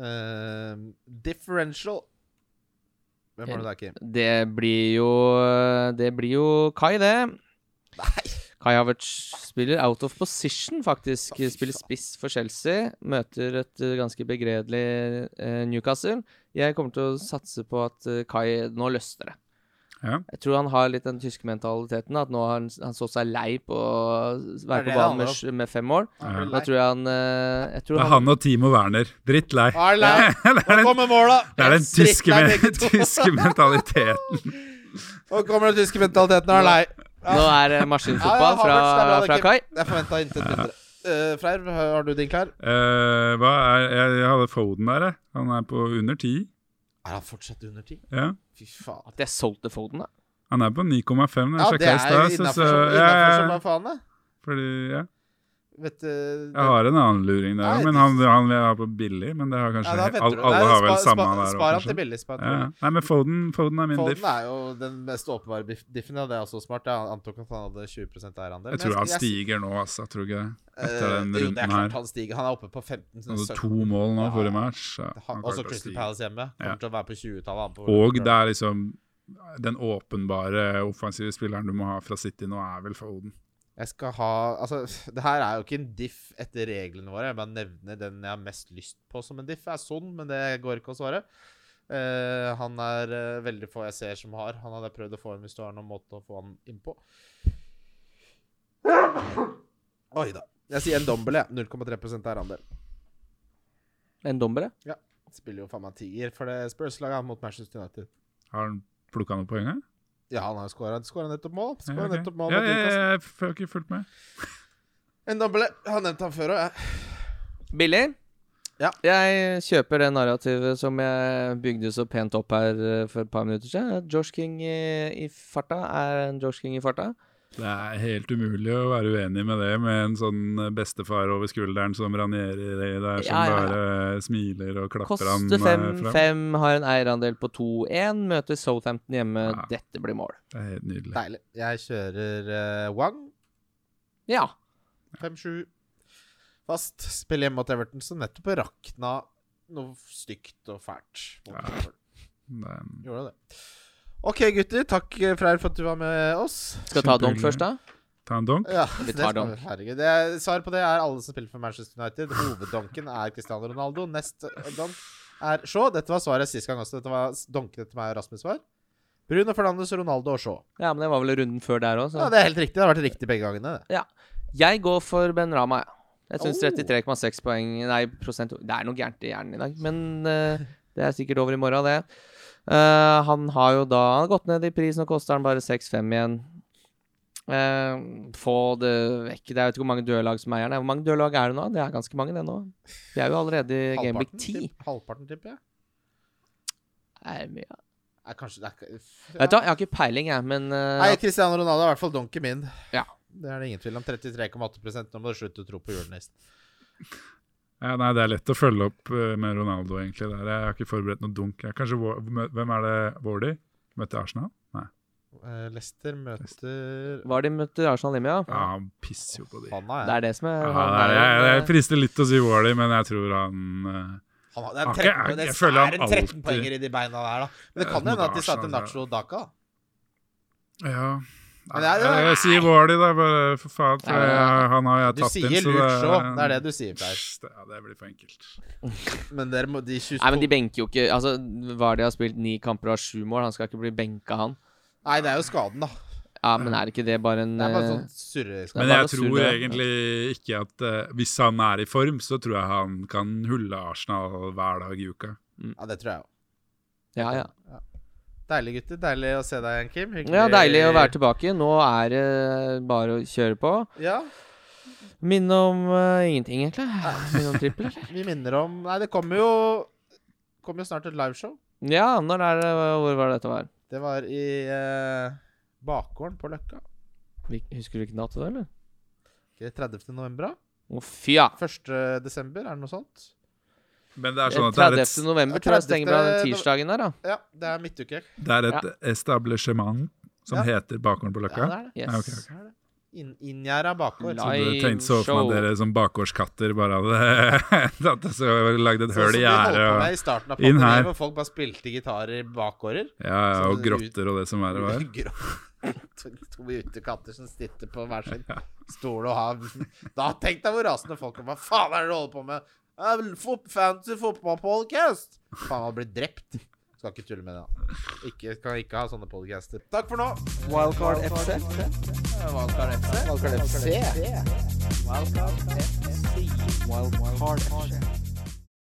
Speaker 2: Eh, differential. Hvem har du der, Kim?
Speaker 3: Det blir jo Det blir jo Kai, det. Kai Havertz spiller out of position, faktisk.
Speaker 2: Å, fy
Speaker 3: Spiller
Speaker 2: faen.
Speaker 3: spiss for Chelsea. Møter et eh, ganske begredelig eh, Newcastle. Jeg kommer til å satse på at eh, Kai Nå løsner det.
Speaker 4: Ja.
Speaker 3: Jeg tror han har litt den tyske mentaliteten. At nå har han, han så seg lei på å
Speaker 2: Er
Speaker 3: være
Speaker 2: det
Speaker 3: på banen
Speaker 2: det
Speaker 3: med,
Speaker 2: handler
Speaker 3: med fem mål.
Speaker 4: Ja.
Speaker 3: Da tror jeg han eh, jeg tror
Speaker 4: Det er han og Timo Werner. Drittlei.
Speaker 2: Er det lei?
Speaker 4: Det er
Speaker 2: Nå
Speaker 4: den,
Speaker 2: kommer måla!
Speaker 4: det er den
Speaker 2: Stritt
Speaker 4: tyske,
Speaker 2: deg,
Speaker 4: men-
Speaker 2: begge to.
Speaker 4: tyske mentaliteten.
Speaker 2: Nå kommer den tyske mentaliteten. Er det lei?
Speaker 3: Nå er det maskinfotball fra, fra Kai.
Speaker 2: Jeg forventa intet mindre. Eh, Freyr, har du din klar?
Speaker 4: Eh, hva er, jeg, jeg hadde Foden der, jeg. Han er på under 10.
Speaker 2: Er han fortsatt under ti?
Speaker 4: Ja.
Speaker 2: Fy faen.
Speaker 3: At jeg solgte Foden, da.
Speaker 4: Han er på 9,5.
Speaker 2: Ja,
Speaker 4: Jeg
Speaker 2: det
Speaker 4: sjekka
Speaker 2: er
Speaker 4: i stad.
Speaker 2: innafor
Speaker 4: så- så-
Speaker 2: som,
Speaker 4: ja,
Speaker 2: innenfor
Speaker 4: ja,
Speaker 2: som
Speaker 4: ja.
Speaker 2: bare faen, det.
Speaker 4: Fordi, ja.
Speaker 2: Vet, eh,
Speaker 4: Jeg har en annen luring der
Speaker 2: Nei,
Speaker 4: òg, men
Speaker 2: det-
Speaker 4: han, han vil jeg ha på billig. Men det har kanskje
Speaker 2: ja, da venter
Speaker 4: all,
Speaker 2: du.
Speaker 4: Alle
Speaker 2: Nei,
Speaker 4: har vel
Speaker 2: spa-
Speaker 4: samme
Speaker 2: spa-
Speaker 4: der
Speaker 2: Spar
Speaker 4: òg,
Speaker 2: han til
Speaker 4: kanskje.
Speaker 2: billig. Spar han
Speaker 4: Ja.
Speaker 2: til
Speaker 4: ja.
Speaker 2: billig.
Speaker 4: Nei, men Foden, Foden er min diff.
Speaker 2: Foden er jo den mest åpenbare biff- diffen. Ja, det er også smart. Jeg antok at han hadde 20 eierandel.
Speaker 4: Jeg tror han stiger nå, altså. Jeg tror ikke det. Etter den
Speaker 2: Eh, jo, det er
Speaker 4: runden
Speaker 2: klart
Speaker 4: her.
Speaker 2: han stiger. Han er oppe på 15.
Speaker 4: Han
Speaker 2: 17.
Speaker 4: hadde to mål nå
Speaker 2: Ja,
Speaker 4: forrige match. Ja,
Speaker 2: Han-
Speaker 4: han
Speaker 2: Også
Speaker 4: klarte å
Speaker 2: Crystal
Speaker 4: stige.
Speaker 2: Palace hjemme. Kommer
Speaker 4: Ja.
Speaker 2: til å være på 20-tallet. han på-
Speaker 4: Og det er liksom den åpenbare offensive spilleren du må ha fra City nå, er vel Foden.
Speaker 2: Jeg skal ha Altså, det her er jo ikke en diff etter reglene våre. Jeg bare nevner den jeg har mest lyst på som en diff. Det er sånn, men det går ikke å svare. Eh, han er eh, veldig få jeg ser som har. Han hadde jeg prøvd å få inn hvis du har noen måte å få han inn på. Oi da. Jeg sier en dobbel, jeg. 0,3 er andel.
Speaker 3: En dommere.
Speaker 2: Spiller jo faen meg tier for det Spurs-laget mot Manchester United.
Speaker 4: Har han plukka noen poeng her?
Speaker 2: Ja, han har jo skåra. Skåra nettopp mål.
Speaker 4: Ja,
Speaker 2: Skåra
Speaker 4: ok.
Speaker 2: nettopp mål.
Speaker 4: ja,
Speaker 2: mot
Speaker 4: ja, ja,
Speaker 2: Newcastle.
Speaker 4: jeg f- har ikke fulgt med.
Speaker 2: En dobbel. Jeg har nevnt han før òg, jeg.
Speaker 3: Billig.
Speaker 2: Ja.
Speaker 3: Jeg kjøper det narrativet som jeg bygde så pent opp her eh, for et par minutter siden. At Josh King i, i farta er en Josh King i farta.
Speaker 4: Det er helt umulig å være uenig med det, med en sånn bestefar over skulderen som ranierer i det der, som
Speaker 3: Ja, ja, ja.
Speaker 4: bare smiler og klapper han
Speaker 3: Koster
Speaker 4: eh, fram.
Speaker 3: 5-5, har en eierandel på 2-1. Møter Southampton hjemme.
Speaker 4: Ja.
Speaker 3: Dette blir mål.
Speaker 4: Det er helt nydelig.
Speaker 2: Deilig. Jeg kjører eh, Wang.
Speaker 3: Ja.
Speaker 2: 5-7 fast. Spiller hjemme mot Everton, som nettopp rakna noe stygt og fælt. mot
Speaker 4: Ja.
Speaker 2: Everton.
Speaker 4: Det er en-
Speaker 2: Gjorde det. OK, gutter. Takk, eh, Freyr, for at du var med oss.
Speaker 3: Skal ta donk
Speaker 4: Kjempehyggelig.
Speaker 3: først, da?
Speaker 4: Ta en donk.
Speaker 2: Ja,
Speaker 3: Vi
Speaker 2: det
Speaker 3: tar
Speaker 2: skal vi. Herregud. Det er, svar på det er alle som spiller for Manchester United. Hoveddonken er Cristiano Ronaldo. Nest donk er Shaw. Dette var svaret sist gang også. Dette var donken etter meg og Rasmus var. Bruno Fernandes, Ronaldo og Shaw.
Speaker 3: Ja, men det var vel runden før der òg,
Speaker 2: Ja,
Speaker 3: så
Speaker 2: det er helt riktig. Det har vært riktig begge gangene. det.
Speaker 3: Jeg går for Ben Rama, ja. Jeg syns
Speaker 2: Oh.
Speaker 3: 33,6 poeng Nei, prosent Det er noe gærent i hjernen i dag, men eh, det er sikkert over i morgen, det. Eh, han har jo da han har gått ned i pris, nå koster han bare 6,5 igjen. Eh, få det vekk. Det er jeg vet ikke hvor mange dødlag som eier den. Hvor mange dødlag er det nå? Det er ganske mange, det nå. Vi er jo allerede i Gameweek 10.
Speaker 2: tipp- halvparten, tipper jeg.
Speaker 3: Det Er mye.
Speaker 2: Er kanskje, det er,
Speaker 3: Vet du hva, jeg har ikke peiling, jeg, men eh,
Speaker 2: Nei, Cristiano Ronaldo er i hvert fall donken min.
Speaker 3: Ja.
Speaker 2: Det er det ingen tvil om. 33,8 Nå må du slutte å tro på julenissen.
Speaker 4: Ja, nei, det er lett å følge opp eh, med Ronaldo, egentlig. Der. Jeg har ikke forberedt noe dunk. Jeg, kanskje, Wa- mø- hvem er det? Wardy? Møtte Arsenal? Nei.
Speaker 2: Eh, Leicester møter
Speaker 3: var de møtte Arsenal hjemme, ja?
Speaker 4: Ja, han pisser jo på de.
Speaker 2: Hanna,
Speaker 3: Det
Speaker 2: ja.
Speaker 3: er det som er
Speaker 4: Ja,
Speaker 3: han
Speaker 4: det er, jeg,
Speaker 3: er-
Speaker 4: jeg frister litt å si Wardy, men jeg tror han eh,
Speaker 2: Han har- det er
Speaker 4: Ok,
Speaker 2: 13,
Speaker 4: jeg-
Speaker 2: det
Speaker 4: jeg føler han
Speaker 2: er en 13
Speaker 4: alltid-
Speaker 2: poenger i de beina der, da. Men det
Speaker 4: Ja,
Speaker 2: kan
Speaker 4: mot
Speaker 2: hende at de starter
Speaker 4: Arsenal,
Speaker 2: Nacho Daka. da.
Speaker 4: Ja.
Speaker 2: Men
Speaker 4: Nei,
Speaker 2: det er-
Speaker 4: jeg, jeg sier Wardy, da, bare for faen. For
Speaker 3: Nei,
Speaker 4: jeg, han har jeg
Speaker 2: Du
Speaker 4: tatt inn,
Speaker 2: sier
Speaker 4: så eh,
Speaker 2: lurt så. Det er det du sier, Pleier.
Speaker 4: Ja, det blir for enkelt.
Speaker 2: Men dere må, de 22
Speaker 3: Nei, men de benker jo ikke Altså, Vardi har spilt ni kamper og har sju mål. Han skal ikke bli benka, han.
Speaker 2: Nei, det er jo skaden, da. Det
Speaker 3: Ja, men er ikke det bare en
Speaker 2: er bare sånn
Speaker 3: eh,
Speaker 2: surreskade.
Speaker 3: Men
Speaker 4: Men
Speaker 3: bare
Speaker 4: jeg
Speaker 3: å
Speaker 4: tror
Speaker 3: surre.
Speaker 4: egentlig ikke at eh, Hvis han er i form, så tror jeg han kan hulle Arsenal hver dag i uka.
Speaker 2: Ja, det tror jeg òg.
Speaker 3: eh, Ja, ja.
Speaker 2: Deilig, gutter. Deilig å se deg igjen, Kim. Hyggelig.
Speaker 3: Ja, deilig å være tilbake. Nå er det bare å kjøre på.
Speaker 2: Ja,
Speaker 3: Minne om eh, ingenting, egentlig. Minne om trippel, eller?
Speaker 2: vi minner om Nei, det kommer jo Kommer jo snart et liveshow.
Speaker 3: Ja, når er det Hvor var det dette var?
Speaker 2: Det var i eh, bakgården på Løkka.
Speaker 3: Hvil- Husker du hvilken dato det var, eller?
Speaker 2: ikke 30. november, da?
Speaker 3: Å, fy ja.
Speaker 2: 1. desember, er det noe sånt?
Speaker 4: Men det er sånn at det er
Speaker 3: 30.
Speaker 4: et,
Speaker 3: Eh, november tror jeg
Speaker 2: 30.
Speaker 3: stenger bra den tirsdagen der, da.
Speaker 2: Ja, det er midtuke.
Speaker 4: det er et establishment som
Speaker 2: Ja.
Speaker 4: heter Bakgården på
Speaker 2: Ja,
Speaker 4: Løkka.
Speaker 2: det er det.
Speaker 3: Yes.
Speaker 4: Ja, ok,
Speaker 2: Det er det. Inn- Inngjerda bakgård.
Speaker 4: Så
Speaker 3: Nei.
Speaker 4: du tenkte så for
Speaker 3: Show.
Speaker 4: meg at dere som bakgårdskatter bare hadde at det så lagde et høl i gjerdet
Speaker 2: og
Speaker 4: og,
Speaker 2: I starten av
Speaker 4: Inn her.
Speaker 2: pandemien, hvor folk bare spilte gitarer i bakgårder.
Speaker 4: ja, ja,
Speaker 2: så
Speaker 4: og
Speaker 2: det-
Speaker 4: grotter og det som verre var.
Speaker 2: To, to utekatter som sitter på hver sin stol og har Da Tenk deg hvor rasende folk er. Hva faen er det du holder på med? Jeg vil fot- Fancy fotballpodcast! Faen, han blir drept. Skal ikke tulle med det. da. Ikke, kan ikke ha sånne podcaster. Takk for nå.
Speaker 5: Wildcard FC. Wildcard FC. Wildcard FC. Wildcard FC. Wildcard FC.